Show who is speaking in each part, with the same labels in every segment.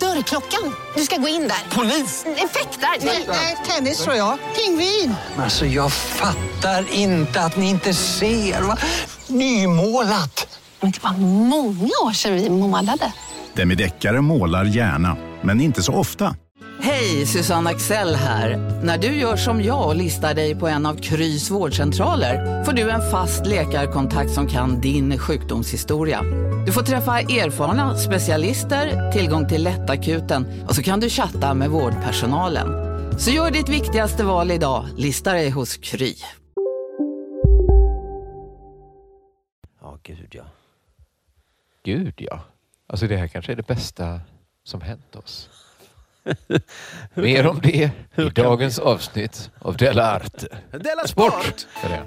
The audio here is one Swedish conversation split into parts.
Speaker 1: Dörrklockan. Du ska gå in där. Polis? Effektar? Nej, tennis tror jag. Pingvin.
Speaker 2: Alltså jag fattar inte att ni inte ser. Va? Nymålat!
Speaker 3: Men det var många år sedan vi målade.
Speaker 4: Demideckare målar gärna, men inte så ofta.
Speaker 5: Hej, Susanne Axel här. När du gör som jag och listar dig på en av Krys vårdcentraler får du en fast läkarkontakt som kan din sjukdomshistoria. Du får träffa erfarna specialister, tillgång till lättakuten och så kan du chatta med vårdpersonalen. Så gör ditt viktigaste val idag, listar dig hos Kry.
Speaker 6: Ja, gud ja.
Speaker 7: Gud ja. Alltså det här kanske är det bästa som hänt oss. Mer om det i dagens avsnitt av Della Arte.
Speaker 6: Della Sport!
Speaker 7: Är det.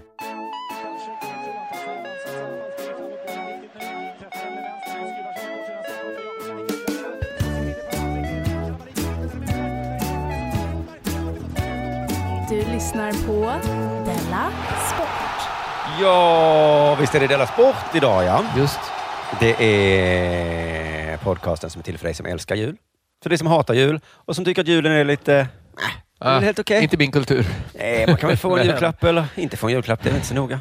Speaker 8: Du lyssnar på Della Sport.
Speaker 6: Ja, visst är det Della Sport idag ja.
Speaker 7: Just.
Speaker 6: Det är podcasten som är till för dig som älskar jul. För dig som hatar jul och som tycker att julen är lite... Äh, det är
Speaker 7: Ah,
Speaker 6: väl helt okej.
Speaker 7: Inte min kultur.
Speaker 6: Nej, man kan väl få en julklapp eller inte få en julklapp, det är inte så noga.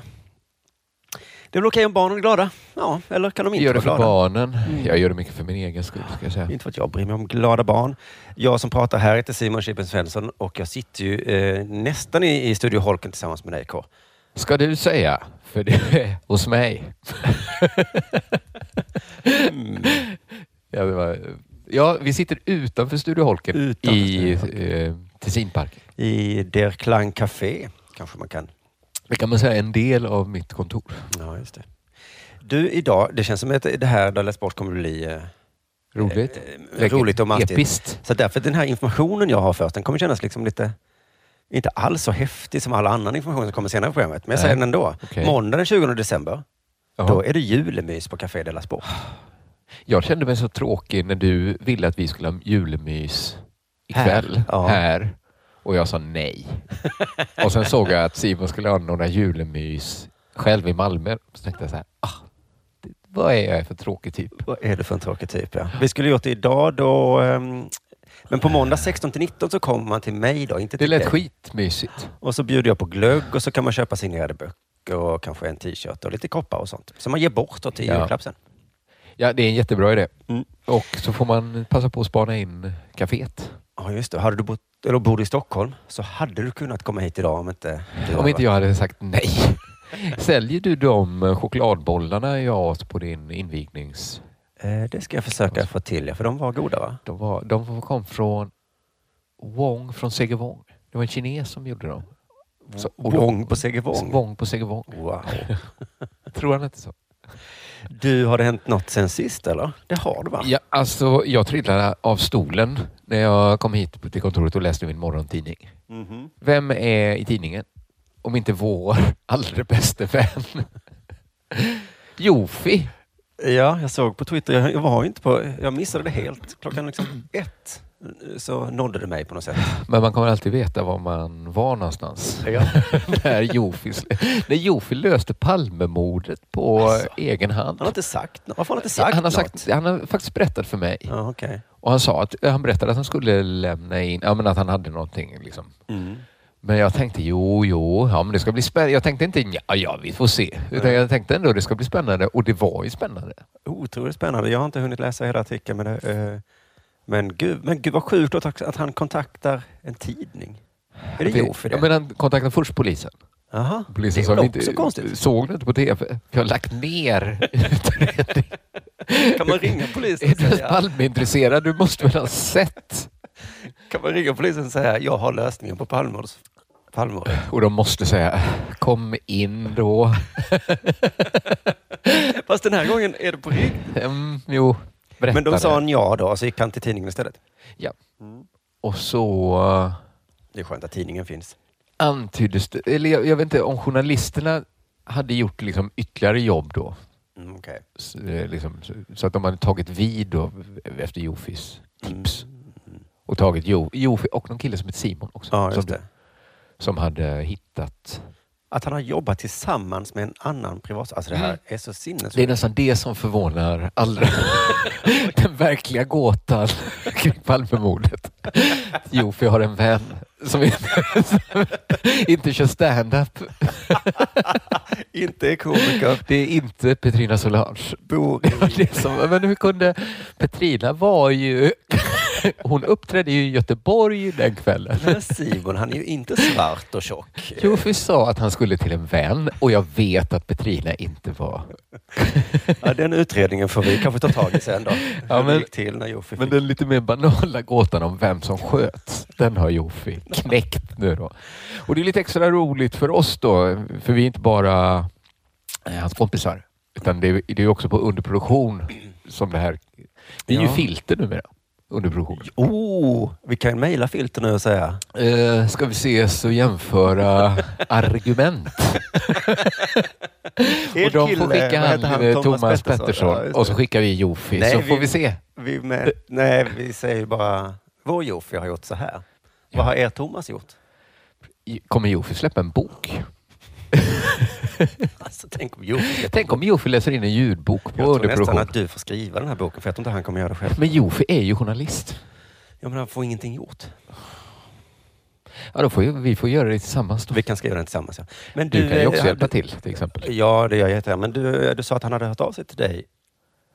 Speaker 6: Det är väl okej om barnen är glada? Ja, eller kan de
Speaker 7: Jag
Speaker 6: inte
Speaker 7: gör det
Speaker 6: vara
Speaker 7: för
Speaker 6: glada?
Speaker 7: barnen.
Speaker 6: Mm.
Speaker 7: Jag gör det mycket för min egen skull, ska jag säga.
Speaker 6: Inte för att jag bryr mig om glada barn. Jag som pratar här heter Simon Chippen Svensson och jag sitter ju eh, nästan i, i Studio Holken tillsammans med dig K.
Speaker 7: Ska du säga? För det är hos mig.
Speaker 6: Mm.
Speaker 7: ja, det var, ja, vi sitter utanför Studio Holken
Speaker 6: Utanför
Speaker 7: i
Speaker 6: Studio
Speaker 7: eh, Tessinparken.
Speaker 6: I Der Klang Café kanske man kan.
Speaker 7: Det kan man säga är en del av mitt kontor.
Speaker 6: Ja, just det. Du, idag, det känns som att det här Dala Sport kommer bli eh,
Speaker 7: Roligt.
Speaker 6: eh, roligt och mastigt.
Speaker 7: Episkt.
Speaker 6: Så därför den här informationen jag har först, den kommer kännas liksom lite inte alls så häftig som all annan information som kommer senare i programmet. Men jag säger
Speaker 7: Nej.
Speaker 6: den ändå.
Speaker 7: Okej.
Speaker 6: Måndag den 20 december, då
Speaker 7: Jaha. Ah.
Speaker 6: är det julemys på Café Della Sport.
Speaker 7: Jag kände mig så tråkig när du ville att vi skulle ha julmys ikväll här.
Speaker 6: Ja.
Speaker 7: och jag sa nej. och sen såg jag att Simon skulle anordna julmys själv i Malmö. Så tänkte jag så här, ah, det- vad är jag för tråkig typ?
Speaker 6: Vad är du för en tråkig typ? Ja. Vi skulle gjort det idag då. ehm, Men på måndag 16 till 19 så kommer man till mig då, inte
Speaker 7: Det
Speaker 6: till
Speaker 7: lät
Speaker 6: dig.
Speaker 7: skitmysigt.
Speaker 6: Och så bjuder jag på glögg och så kan man köpa signerade böcker och kanske en t-shirt och lite koppar och sånt. Som man ger bort då till
Speaker 7: Ja.
Speaker 6: julklapp sen.
Speaker 7: Ja, det är en jättebra idé.
Speaker 6: Mm.
Speaker 7: Och så får man passa på att spana in kaféet.
Speaker 6: Ja, just det. Hade du bott, eller bor du i Stockholm så hade du kunnat komma hit idag om inte... du
Speaker 7: Om
Speaker 6: hade
Speaker 7: inte jag hade sagt nej. Säljer du de chokladbollarna jag åt på din invignings...
Speaker 6: varit- Eh, det ska jag försöka
Speaker 7: Alltså.
Speaker 6: få till, ja, för de var goda va?
Speaker 7: De, var, de kom från Wong från Segevong. Det var en kines som gjorde dem. Så- och de-
Speaker 6: Wong på Segevång.
Speaker 7: Wong på Segevong.
Speaker 6: Wow.
Speaker 7: Tror han inte så?
Speaker 6: Du, har det hänt något sen sist eller? Det har det va?
Speaker 7: Ja, alltså, jag trillade av stolen när jag kom hit till kontoret och läste min morgontidning.
Speaker 6: Mhm.
Speaker 7: Vem är i tidningen? Om inte vår allra bästa vän. Jofi.
Speaker 6: Ja, jag såg på Twitter. Jag, jag var ju inte på... Jag missade det helt. Klockan liksom ett så nådde det mig på något sätt.
Speaker 7: Men man kommer alltid veta var man var någonstans. när, Jofi, när Jofi löste Palmemordet på
Speaker 6: Alltså.
Speaker 7: egen hand.
Speaker 6: Han har inte sagt något. Varför har han inte sagt
Speaker 7: han, har
Speaker 6: något?
Speaker 7: sagt, han har faktiskt berättat för mig.
Speaker 6: Ja, okej.
Speaker 7: Och han, sa att, han berättade att han skulle lämna in, ja, men att han hade någonting. Liksom.
Speaker 6: Mm.
Speaker 7: Men jag tänkte, jo, jo, ja, men det ska bli spännande. Jag tänkte inte, ja, ja vi får se. Utan jag tänkte ändå, det ska bli spännande. Och det var ju spännande.
Speaker 6: Otroligt spännande. Jag har inte hunnit läsa hela artikeln. Men, det, eh, men, gud, men gud vad sjukt att, att han kontaktar en tidning. Är det Jofi det?
Speaker 7: Ja, men han kontaktade först polisen.
Speaker 6: Aha.
Speaker 7: Polisen
Speaker 6: det är
Speaker 7: sa,
Speaker 6: väl
Speaker 7: vi
Speaker 6: också
Speaker 7: inte,
Speaker 6: konstigt.
Speaker 7: såg du inte på TV? Vi har lagt ner utredningen.
Speaker 6: Kan man ringa polisen
Speaker 7: Är
Speaker 6: och
Speaker 7: du ens
Speaker 6: säga,
Speaker 7: Palmeintresserad? Du måste väl ha sett?
Speaker 6: kan man ringa polisen och säga jag har lösningen på Palmemordet? Palmemordet.
Speaker 7: Och de måste säga, kom in då.
Speaker 6: Fast den här gången är det på riktigt.
Speaker 7: Mm, jo, berätta
Speaker 6: Men då sa
Speaker 7: det.
Speaker 6: han ja då, så gick han till tidningen istället.
Speaker 7: Och så... eh,
Speaker 6: Det är skönt att tidningen finns.
Speaker 7: antyddes det, eller jag, jag vet inte om journalisterna hade gjort liksom ytterligare jobb då.
Speaker 6: Mm, okej.
Speaker 7: S- eh, Liksom, så- så att de hade tagit vid då, efter Jofis
Speaker 6: Mm.
Speaker 7: tips. Och tagit jo, Jofi och någon kille som heter Simon också.
Speaker 6: Ja,
Speaker 7: som,
Speaker 6: just det.
Speaker 7: som hade hittat.
Speaker 6: Att han har jobbat tillsammans med en annan privat... Alltså det här
Speaker 7: Mm.
Speaker 6: är så sinnessjukt.
Speaker 7: Det är nästan det som förvånar allra. Den verkliga gåtan kring Palmemordet. Jofi har en vän som inte, som inte kör stand-up.
Speaker 6: Inte är komiker.
Speaker 7: Det är inte Petrina Solange.
Speaker 6: Bor
Speaker 7: Det var det som, men hur kunde... Petrina var ju... Hon uppträdde ju i Göteborg den kvällen.
Speaker 6: Men Simon, han är ju inte svart och tjock.
Speaker 7: Jofi sa att han skulle till en vän och jag vet att Petrina inte var...
Speaker 6: Ja, den utredningen får vi kanske ta tag i sen då. Hur det
Speaker 7: men-
Speaker 6: gick till när Jofi
Speaker 7: Men
Speaker 6: fick...
Speaker 7: den lite mer banala gåtan om vem som sköts, den har Jofi knäckt nu då. Och det är lite extra roligt för oss då, för vi är inte bara eh, hans kompisar, utan det är det är ju också på underproduktion som det här... Det är ju
Speaker 6: Ja.
Speaker 7: filter numera, underproduktion.
Speaker 6: Oh, vi kan mejla filter nu och säga.
Speaker 7: Eh, ska vi ses och jämföra argument? och de får skicka
Speaker 6: vad
Speaker 7: han,
Speaker 6: heter
Speaker 7: eh, Thomas, Pettersson,
Speaker 6: Ja, just
Speaker 7: och så
Speaker 6: det.
Speaker 7: skickar vi Jofi,
Speaker 6: Nej,
Speaker 7: så
Speaker 6: vi-
Speaker 7: får vi se.
Speaker 6: vi med, Nej, vi säger bara, vår Jofi har gjort så här. Vad har er Thomas gjort?
Speaker 7: Kommer Jofi släppa en bok?
Speaker 6: Alltså, tänk om Jofi... Jag
Speaker 7: Tänk om Jofi läser in en ljudbok på
Speaker 6: jag tror nästan
Speaker 7: underproduktion.
Speaker 6: att du får skriva den här boken, för jag tror inte han kommer göra det själv.
Speaker 7: Men Jofi är ju journalist.
Speaker 6: Ja, men han får ingenting gjort.
Speaker 7: Ja, då får ju, vi får göra det tillsammans. Då.
Speaker 6: Vi kan skriva den tillsammans. Ja. Men
Speaker 7: Du kan ju också
Speaker 6: eh,
Speaker 7: hjälpa
Speaker 6: du-
Speaker 7: till till exempel.
Speaker 6: Ja, det gör jag jättegärna. Men du, du sa att han hade hört av sig till dig.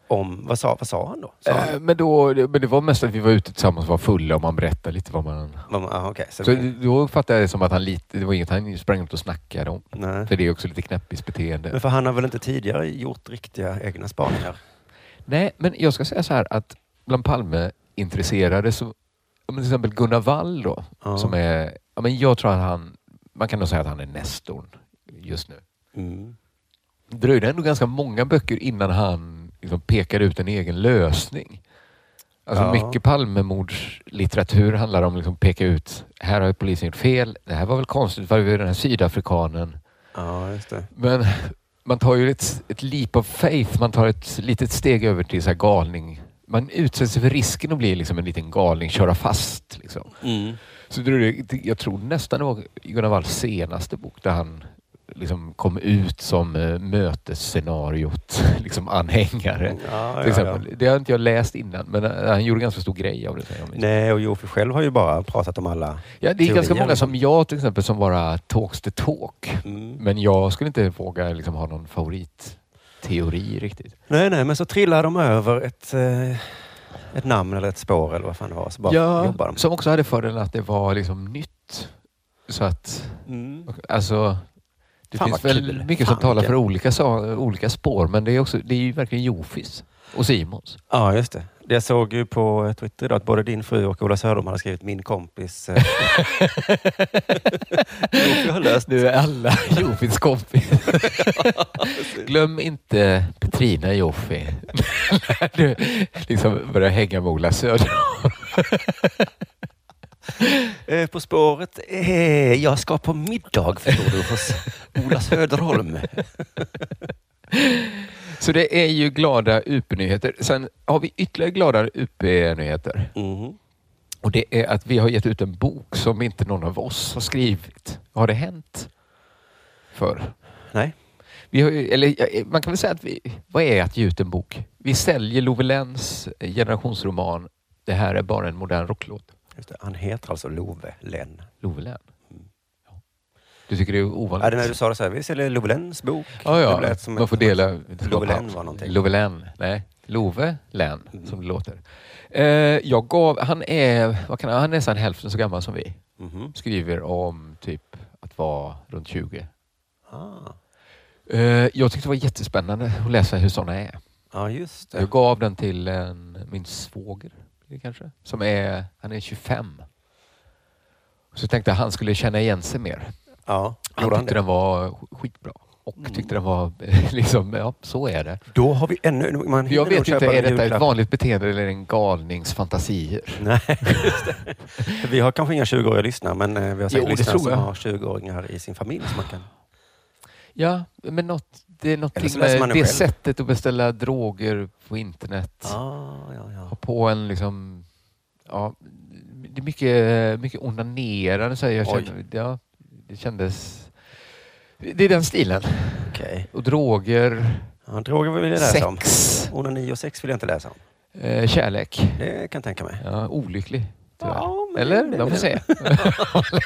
Speaker 6: Om, vad, sa, vad sa han då? Sa han,
Speaker 7: Eh, Men, då, men det var mest att vi var ute tillsammans och var fulla och man berättade lite vad man...
Speaker 6: Vad- ah, okej, så,
Speaker 7: Så då uppfattade jag det som att han lite, det var inget han sprang runt och snackade om.
Speaker 6: nej.
Speaker 7: För det är också lite knäppis beteende.
Speaker 6: Men för han har väl inte tidigare gjort riktiga egna spaningar?
Speaker 7: Nej, men jag ska säga så här att bland Palme-intresserade så, ja, men till exempel Gunnar Wall då,
Speaker 6: Ja.
Speaker 7: som är, ja, men jag tror att han, man kan nog säga att han är nestorn just nu.
Speaker 6: Mm.
Speaker 7: Det dröjde ändå ganska många böcker innan han liksom pekade ut en egen lösning. Alltså
Speaker 6: Ja.
Speaker 7: mycket Palmemordslitteratur handlar om att liksom peka ut, här har ju polisen gjort fel, det här var väl konstigt, varför är den här sydafrikanen?
Speaker 6: Ja, just det.
Speaker 7: Men man tar ju ett, ett leap of faith. Man tar ett litet steg över till så här galning. Man utsätts för risken att bli liksom en liten galning, köra fast. Liksom.
Speaker 6: Mm.
Speaker 7: Så det, är det- jag tror nästan det var Gunnar Walls senaste bok där han liksom kom ut som eh, mötesscenariot liksom anhängare.
Speaker 6: Ja,
Speaker 7: Till
Speaker 6: ja, ja.
Speaker 7: exempel. Det har inte jag läst innan, men eh, han gjorde ganska stor grej av det. säger de.
Speaker 6: Nej, och Jofi själv har ju bara pratat om alla...
Speaker 7: Ja, det är ganska
Speaker 6: teorier.
Speaker 7: många som jag till exempel som bara talks the talk.
Speaker 6: Mm.
Speaker 7: Men jag skulle inte våga liksom ha någon favoritteori riktigt.
Speaker 6: Nej, nej, men så trillar de över ett, eh, ett namn eller ett spår eller vad fan det var. Så bara jobbar de.
Speaker 7: Som också hade fördelen att det var liksom nytt. Så att,
Speaker 6: Mm.
Speaker 7: alltså, det
Speaker 6: Fan,
Speaker 7: finns
Speaker 6: vad
Speaker 7: väl
Speaker 6: kul.
Speaker 7: mycket
Speaker 6: Fan,
Speaker 7: som talar
Speaker 6: vilken-
Speaker 7: för olika, sa- olika spår, men det är, också, det är ju verkligen Jofis och Simons.
Speaker 6: Ja, just det. Det Jag såg ju på eh, Twitter idag att både din fru och Ola Söderholm hade skrivit min kompis. eh, Jofi har löst
Speaker 7: Nu är alla Jofis kompis. Glöm inte Petrina Jofi. När du liksom börjar hänga med Ola Söder.
Speaker 6: Eh, På spåret. Eh, jag ska på middag förstår du hos Ola Söderholm.
Speaker 7: Så det är ju glada UP-nyheter. Sen har vi ytterligare glada UP-nyheter.
Speaker 6: Mm.
Speaker 7: Och det är att vi har gett ut en bok som inte någon av oss har skrivit. Har det hänt? För.
Speaker 6: Nej.
Speaker 7: Vi har, ju- eller, ja, eh, man kan väl säga att vi, vad är att ge ut en bok? Vi säljer Love Lenns generationsroman Det här är bara en modern rocklåt.
Speaker 6: Just det. Han heter alltså Love Lenn.
Speaker 7: Love Lenn. Ja. Du tycker det är
Speaker 6: Mm. Ja, det är
Speaker 7: ovanligt?
Speaker 6: när du sa det så här, vi säljer Love Lenns bok.
Speaker 7: Ja,
Speaker 6: Det
Speaker 7: ja.
Speaker 6: lät som
Speaker 7: Man
Speaker 6: ett-
Speaker 7: får dela.
Speaker 6: Love Lenn var någonting. Mm.
Speaker 7: Love Lenn. Nej, Love Lenn, som det låter. Eh, jag gav, han är, vad kan han, han är nästan hälften så gammal som vi.
Speaker 6: Mhm.
Speaker 7: Skriver om typ att vara runt 20.
Speaker 6: Ah.
Speaker 7: Eh, jag tyckte det var jättespännande att läsa hur sådana är.
Speaker 6: Ja, just det.
Speaker 7: Jag gav den till en, min svåger, blir det kanske, som är, han är 25. Så jag tänkte att han skulle känna igen sig mer.
Speaker 6: Ja,
Speaker 7: Han
Speaker 6: gjorde han
Speaker 7: tyckte
Speaker 6: det? Mm.
Speaker 7: den var sk- skitbra. och tyckte den var liksom, ja så är det.
Speaker 6: Då har vi ännu... Man hinner
Speaker 7: Jag
Speaker 6: nog
Speaker 7: vet
Speaker 6: köpa
Speaker 7: inte,
Speaker 6: en
Speaker 7: är detta ett
Speaker 6: julklapp.
Speaker 7: vanligt beteende eller en galnings fantasier?
Speaker 6: Nej, just det. Vi har kanske inga 20-åriga lyssnare, men eh, vi har säkert
Speaker 7: Jo, det
Speaker 6: lyssnare
Speaker 7: tror
Speaker 6: som
Speaker 7: jag.
Speaker 6: har 20-åringar i sin familj. Som man kan...
Speaker 7: Ja, men något, det är
Speaker 6: Eller så
Speaker 7: någonting
Speaker 6: läser man
Speaker 7: med
Speaker 6: det
Speaker 7: det
Speaker 6: själv.
Speaker 7: sättet att beställa droger på internet.
Speaker 6: ah, ja, ja.
Speaker 7: Ha på en liksom, ja, det är mycket, mycket onanerande så här, jag
Speaker 6: Oj.
Speaker 7: känner, ja, det kändes, det är den stilen.
Speaker 6: Okej.
Speaker 7: Och droger,
Speaker 6: Ja, droger vill jag läsa om.
Speaker 7: sex,
Speaker 6: Onani och sex vill jag inte läsa om.
Speaker 7: eh, kärlek.
Speaker 6: Det kan jag tänka mig.
Speaker 7: Ja, olycklig. tyvärr.
Speaker 6: Ja, men det-
Speaker 7: Eller?
Speaker 6: det-
Speaker 7: De får se.
Speaker 6: Ja,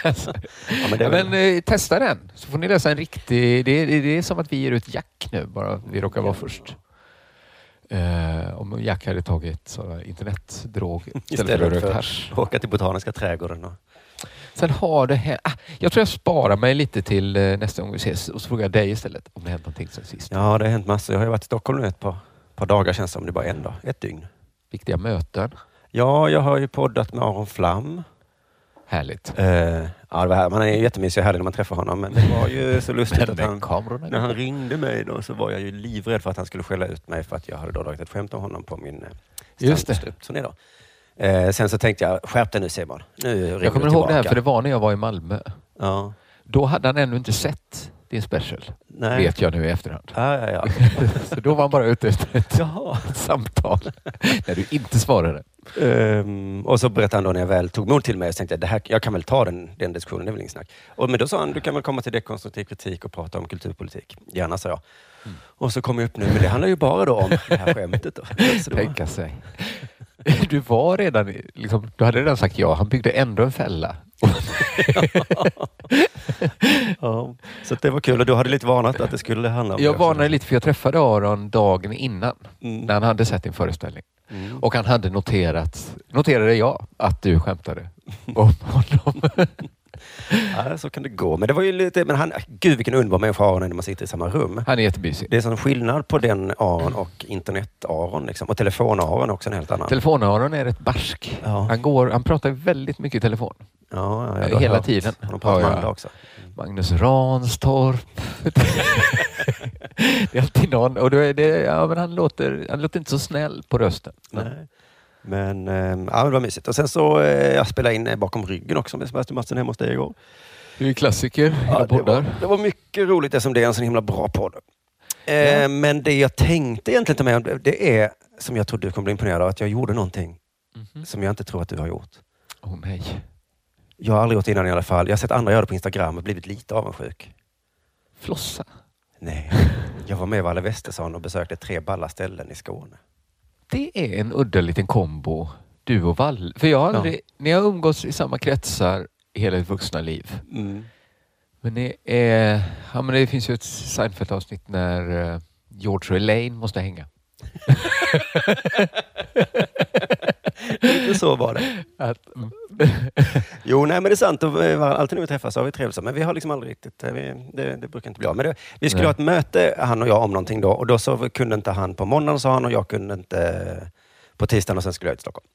Speaker 6: men
Speaker 7: Ja,
Speaker 6: det är
Speaker 7: men,
Speaker 6: väl...
Speaker 7: eh, testa den, så får ni läsa en riktig... Det, det, det är som att vi ger ut Jack nu, bara vi råkar vara först. Eh, om Jack hade tagit sådana internetdrog istället för
Speaker 6: Istället
Speaker 7: rökt
Speaker 6: för-
Speaker 7: hasch.
Speaker 6: Åka till Botaniska trädgården. Och...
Speaker 7: Sen har det hänt... Ah, jag tror jag sparar mig lite till eh, nästa gång vi ses och så frågar jag dig istället om det hänt någonting sen sist.
Speaker 6: Ja, det har hänt massor. Jag har ju varit i Stockholm nu ett par, par dagar känns det som. Det är bara en dag. Ett dygn.
Speaker 7: Viktiga möten.
Speaker 6: Ja, jag har ju poddat med Aron Flam.
Speaker 7: Härligt.
Speaker 6: Eh, ja, det var här. Man är ju jättemysig och härlig när man träffar honom, men det var ju så lustigt
Speaker 7: Men
Speaker 6: att
Speaker 7: med
Speaker 6: han...
Speaker 7: kamerorna.
Speaker 6: När han ringde mig då så var jag ju livrädd för att han skulle skälla ut mig för att jag hade då dragit ett skämt om honom på min eh,
Speaker 7: Just det.
Speaker 6: standup-turné då. Eh, sen så tänkte jag, skärp dig nu Simon. Nu ringer
Speaker 7: Jag kommer
Speaker 6: du
Speaker 7: ihåg det här,
Speaker 6: tillbaka."
Speaker 7: för det var när jag var i Malmö.
Speaker 6: Ja.
Speaker 7: Då hade han ännu inte sett din special,
Speaker 6: Nej.
Speaker 7: vet jag nu i efterhand.
Speaker 6: Ja, ja, ja.
Speaker 7: Så då var han bara ute efter ett
Speaker 6: Jaha.
Speaker 7: samtal när du inte svarade.
Speaker 6: Ehm, och så berättade han då när jag väl tog mod till mig, så tänkte jag, det här, jag kan väl ta den, den diskussionen, det är väl ingen snack. Och, men då sa han, du kan väl komma till dekonstruktiv kritik och prata om kulturpolitik. Gärna, sa jag.
Speaker 7: Mm.
Speaker 6: Och så kom jag upp nu, men det handlar ju bara då om det här skämtet. Då. Så det var-
Speaker 7: Tänka sig. Du var redan, i- liksom, du hade redan sagt ja, han byggde ändå en fälla.
Speaker 6: Ja, så att det var kul. Och du hade lite varnat att det skulle handla om
Speaker 7: Jag
Speaker 6: det också.
Speaker 7: varnade lite för jag träffade Aron dagen innan,
Speaker 6: Mm.
Speaker 7: när han hade sett din föreställning.
Speaker 6: Mm.
Speaker 7: Och han hade noterat, noterade jag, att du skämtade om honom.
Speaker 6: Ja, så kan det gå. Men det var ju lite... Men han, gud vilken underbar människa Aron är när man sitter i samma rum.
Speaker 7: Han är jättemysig.
Speaker 6: Det är sån skillnad på den Aron och internet-Aron. Liksom. Och telefon-Aron är också en helt annan.
Speaker 7: Telefon-Aron är rätt barsk.
Speaker 6: Ja.
Speaker 7: Han, går, han pratar väldigt mycket i telefon.
Speaker 6: ja, ja, jag
Speaker 7: Hela
Speaker 6: hört.
Speaker 7: tiden.
Speaker 6: De pratar
Speaker 7: Ja,
Speaker 6: med
Speaker 7: ja.
Speaker 6: andra också.
Speaker 7: Magnus Ranstorp. det är alltid någon. Och då är det, ja, men han, låter, han låter inte så snäll på rösten.
Speaker 6: Nej. Men, ehm, ja, men det var mysigt. Och sen så eh, jag spelade in eh, Bakom ryggen också med Sebastian Mattsson hemma hos dig igår.
Speaker 7: Du är klassiker ja,
Speaker 6: det, var, det var mycket roligt eftersom det är en så himla bra podd. Eh, Men det jag tänkte egentligen ta med om det- det är, som jag trodde du kommer bli imponerad av, att jag gjorde någonting som jag inte tror att du har gjort.
Speaker 7: Åh oh, nej.
Speaker 6: Jag har aldrig gjort det innan i alla fall. Jag har sett andra göra det på Instagram och blivit lite avundsjuk.
Speaker 7: Flossa.
Speaker 6: Nej. Jag var med Valle Westesson och besökte tre balla ställen i Skåne.
Speaker 7: Det är en udda liten kombo, du och Valle. För jag har
Speaker 6: Ja.
Speaker 7: aldrig, ni har umgåtts i samma kretsar i hela ert vuxna liv. Men det, är, ja, men det finns ju ett Seinfeld-avsnitt när eh, George och Elaine måste hänga.
Speaker 6: Lite så var det.
Speaker 7: Att, mm.
Speaker 6: Jo, nej, men det är sant. Och, eh, var- Alltid när vi träffas så har vi trevligt. så. Men vi har liksom aldrig riktigt... eh, Vi, det, det brukar inte bli av. Men det, vi skulle
Speaker 7: Nej.
Speaker 6: ha ett möte, han och jag, om någonting då. Och då så kunde inte han på måndagen, sa han, och jag kunde inte eh, på tisdagen och sen skulle jag till Stockholm.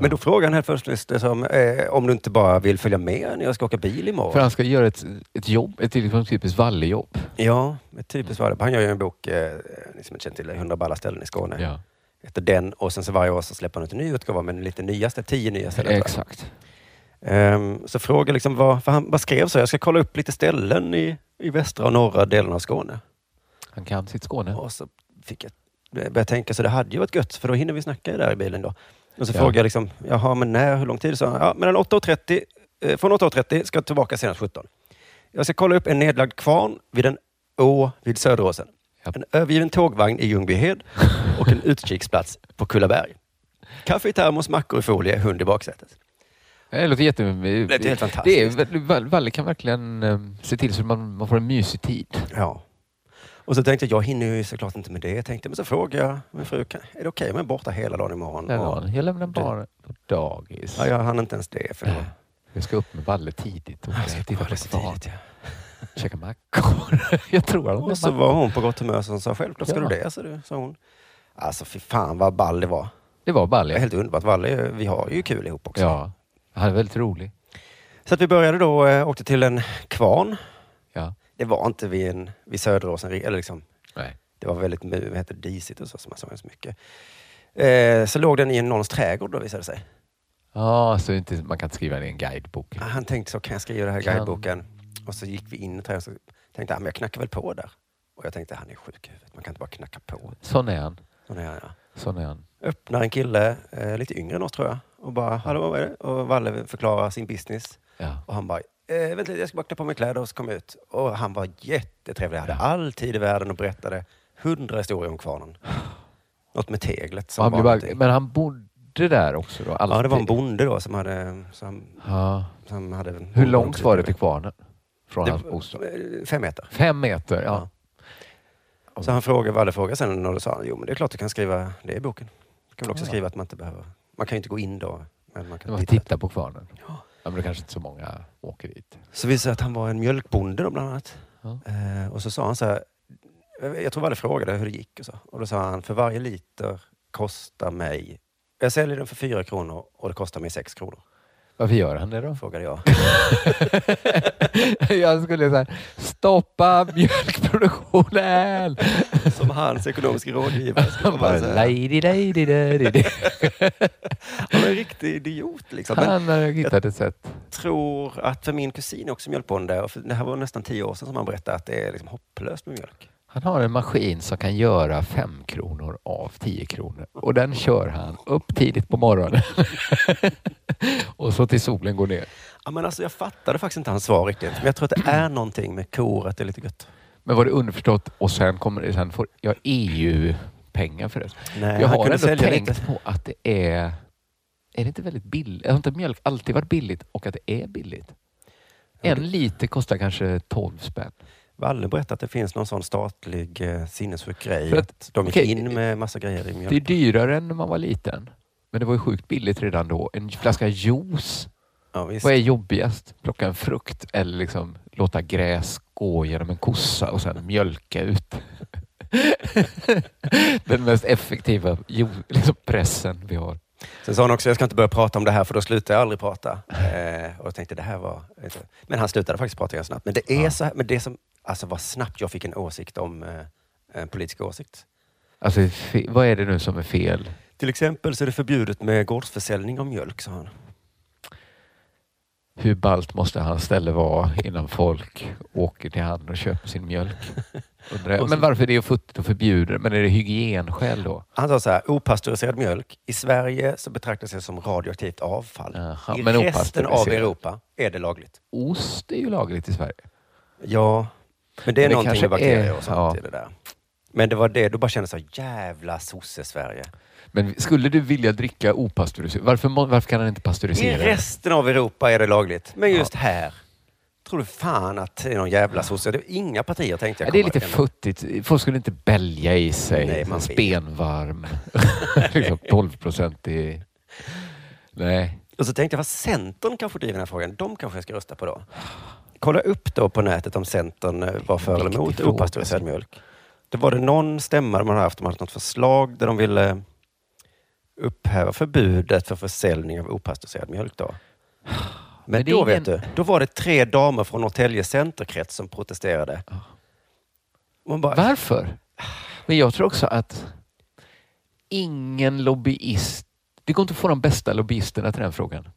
Speaker 6: Men då frågade han helt först liksom, eh, om du inte bara vill följa med när jag ska åka bil imorgon.
Speaker 7: För han ska göra ett, ett jobb, ett liksom typiskt Valle-jobb.
Speaker 6: Ja, ett typiskt var det. Han gör ju en bok, eh, ni som inte känner till det, 100 balla ställen i Skåne.
Speaker 7: Ja.
Speaker 6: Heter den och sen så varje år så släpper han ut en ny utgåva med lite nyaste, tio nya ställen. tror jag.
Speaker 7: Exakt.
Speaker 6: Ehm, så fråga liksom vad, för han, vad skrev så? Jag ska kolla upp lite ställen i, i västra och norra delen av Skåne.
Speaker 7: Han kan sitt Skåne.
Speaker 6: Och så fick jag börja tänka, så det hade ju varit gött, för då hinner vi snacka där i bilen då. Och så
Speaker 7: Ja.
Speaker 6: frågade jag liksom, jaha, men när, hur lång tid? Så han, ja, mellan 8.30, eh, från 8.30 ska jag tillbaka senast 17. Jag ska kolla upp en nedlagd kvarn vid en å vid Söderåsen.
Speaker 7: Japp.
Speaker 6: En övergiven tågvagn i Ljungbyhed och en utkiksplats på Kullaberg. Kaffe i termos, mackor i folie, hund i baksätet.
Speaker 7: Det låter jätte...
Speaker 6: låter helt
Speaker 7: Det är,
Speaker 6: fantastiskt.
Speaker 7: Val- Valle kan verkligen eh, se till så att man, man får en mysig tid.
Speaker 6: Ja. Och så tänkte jag, jag hinner ju såklart inte med det. Jag tänkte, men så frågade jag min fru, kan- är det okej om jag är borta hela dagen imorgon?
Speaker 7: Den
Speaker 6: Och-
Speaker 7: dagen. Jag lämnar barnen på dagis.
Speaker 6: Ja, jag hann inte ens det. För då...
Speaker 7: Jag ska upp med Valle tidigt och
Speaker 6: Jag ska
Speaker 7: titta
Speaker 6: bara
Speaker 7: på
Speaker 6: lite
Speaker 7: stan.
Speaker 6: tidigt, ja.
Speaker 7: Käka mackor. Jag tror han
Speaker 6: Och så
Speaker 7: mackor.
Speaker 6: var hon på gott humör så hon sa, självklart ska
Speaker 7: Ja.
Speaker 6: du det, sa, du, sa hon. Alltså fy fan vad ball det var.
Speaker 7: Det var
Speaker 6: Det är
Speaker 7: Valle.
Speaker 6: helt underbart. Valle, är ju- vi har ju kul ihop också.
Speaker 7: Ja. Han är väldigt rolig.
Speaker 6: Så att vi började då, eh, åkte till en kvarn.
Speaker 7: Ja.
Speaker 6: det var inte vid, en, vid Söderåsen, eller liksom,
Speaker 7: Nej.
Speaker 6: det var väldigt mu- vad heter det, disigt och så, så man såg inte så mycket. Eh, så låg den i någons trädgård då visade det sig.
Speaker 7: Ja, så inte, man kan inte skriva det i en guidebok.
Speaker 6: Ah, Han tänkte så, kan jag skriva det här i
Speaker 7: Kan-
Speaker 6: guideboken? Och så gick vi in i trädgården och så tänkte han, men jag knackar väl på där. Och jag tänkte, han är sjuk i huvudet, man kan inte bara knacka på.
Speaker 7: Sån är han.
Speaker 6: Och när jag
Speaker 7: Sån är han.
Speaker 6: öppnar en kille, eh, lite yngre än oss tror jag, och bara, hallå vad är det? Och Valle förklarar sin business.
Speaker 7: Ja.
Speaker 6: Och han bara, eh, vänta lite, jag ska bara klä på mig kläder och så kom jag ut. Och han var jättetrevlig, hade all tid i världen och berättade hundra historier om kvarnen. Något med teglet som
Speaker 7: Han
Speaker 6: var
Speaker 7: blev bara,
Speaker 6: någonting.
Speaker 7: men han bodde där också då? Alltid.
Speaker 6: Ja, det var en bonde då som hade... Som,
Speaker 7: Ja.
Speaker 6: som hade
Speaker 7: Hur långt var det till kvarnen? Från hans bostad?
Speaker 6: bostad? Eh, Fem meter.
Speaker 7: Fem meter? Ja.
Speaker 6: Så han frågade Valle frågade sen och då sa han, jo men det är klart du kan skriva det i boken. Du kan väl också skriva att man inte behöver... Man kan ju inte gå in då. Men man
Speaker 7: När
Speaker 6: kan
Speaker 7: man
Speaker 6: titta.
Speaker 7: tittar på kvarnen? Ja. Men det kanske inte så många åker dit.
Speaker 6: Så visade det sig att han var en mjölkbonde då bland annat.
Speaker 7: Ja.
Speaker 6: Eh, och så sa han så här, jag tror Valle frågade hur det gick och så. Och då sa han, för varje liter kostar mig, jag säljer den för fyra kronor och det kostar mig sex kronor.
Speaker 7: Varför gör han det då?
Speaker 6: Frågade jag.
Speaker 7: Jag skulle säga stoppa mjölkproduktionen!
Speaker 6: Som hans ekonomiska rådgivare. skulle
Speaker 7: Han bara,
Speaker 6: vara så här.
Speaker 7: lady, lady, lady.
Speaker 6: Han var en riktig idiot liksom. Men
Speaker 7: Han har hittat ett sätt.
Speaker 6: tror att för min kusin är också mjölkbonde, och för det här var nästan tio år sedan som han berättade att det är liksom hopplöst med mjölk.
Speaker 7: Han har en maskin som kan göra fem kronor av tio kronor och den kör han upp tidigt på morgonen och så till solen går ner.
Speaker 6: Ja, men alltså, jag fattade faktiskt inte hans svar riktigt. Men jag tror att det är någonting med kor, att det är lite gött.
Speaker 7: Men var det underförstått och sen, kommer, det- sen får jag EU-pengar för det?
Speaker 6: Nej,
Speaker 7: jag
Speaker 6: han
Speaker 7: har
Speaker 6: kunde
Speaker 7: ändå
Speaker 6: sälja
Speaker 7: tänkt
Speaker 6: lite.
Speaker 7: på att det är... Är det inte väldigt billigt? Har inte mjölk alltid varit billigt och att det är billigt? En liter kostar kanske 12 spänn.
Speaker 6: Valle berättade att det finns någon sån statlig eh, sinnessjuk grej.
Speaker 7: För
Speaker 6: Att,
Speaker 7: att-
Speaker 6: de gick
Speaker 7: okej,
Speaker 6: in med massa grejer i mjölk.
Speaker 7: Det är dyrare än när man var liten. Men det var ju sjukt billigt redan då. En flaska juice.
Speaker 6: ja, visst.
Speaker 7: Vad är jobbigast? Plocka en frukt eller liksom låta gräs gå genom en kossa och sen mjölka ut? Den mest effektiva ju- liksom pressen vi har.
Speaker 6: Sen sa han också, jag ska inte börja prata om det här för då slutar jag aldrig prata. Eh, och jag tänkte, det här var... Men han slutade faktiskt prata ganska snabbt. Men det är så här, men det som... Alltså vad snabbt jag fick en åsikt om eh, en politisk åsikt.
Speaker 7: Alltså, fe- vad är det nu som är fel?
Speaker 6: Till exempel så är det förbjudet med gårdsförsäljning av mjölk, sa han.
Speaker 7: Hur ballt måste hans ställe vara innan folk åker till han och köper sin mjölk? Undrar jag. Men varför är det futtigt att förbjuda det? Men är det hygienskäl då?
Speaker 6: Han sa så här, opastöriserad mjölk. I Sverige så betraktas det som radioaktivt avfall.
Speaker 7: Jaha,
Speaker 6: I
Speaker 7: men
Speaker 6: resten av
Speaker 7: opastöriserad.
Speaker 6: Europa är det lagligt.
Speaker 7: Ost är ju lagligt i Sverige.
Speaker 6: Ja, men det
Speaker 7: Men det
Speaker 6: är någonting
Speaker 7: kanske
Speaker 6: med bakterier
Speaker 7: är-
Speaker 6: och sånt
Speaker 7: ja.
Speaker 6: i det där. Men det var det, då bara kände jag så här, jävla sosse-Sverige.
Speaker 7: Men skulle du vilja dricka opastöriserat? Varför, må- varför kan han inte
Speaker 6: I
Speaker 7: pastörisera? det?
Speaker 6: resten av Europa är det lagligt, men just här tror du fan att det är någon jävla sosse. Det är inga partier tänkte
Speaker 7: Ja,
Speaker 6: jag.
Speaker 7: det är lite
Speaker 6: komma
Speaker 7: futtigt. Folk skulle inte bälja i sig
Speaker 6: Nej, man vet.
Speaker 7: spenvarm. liksom 12 procent i... Nej.
Speaker 6: Och så tänkte jag, vad Centern kanske driver den här frågan. De kanske jag ska rösta på då. Kolla upp då på nätet om Centern eh, var för eller
Speaker 7: Viktig
Speaker 6: emot
Speaker 7: fråga.
Speaker 6: opastöriserad mjölk. Det var det någon stämma de hade haft, de hade haft något förslag där de ville upphäva förbudet för försäljning av opastöriserad mjölk då. Men
Speaker 7: Men det är
Speaker 6: då vet
Speaker 7: ingen-
Speaker 6: du, då var det tre damer från Norrtälje centerkrets som protesterade. Man bara,
Speaker 7: Varför? Men jag tror också att ingen lobbyist... Det går inte att få de bästa lobbyisterna till den frågan.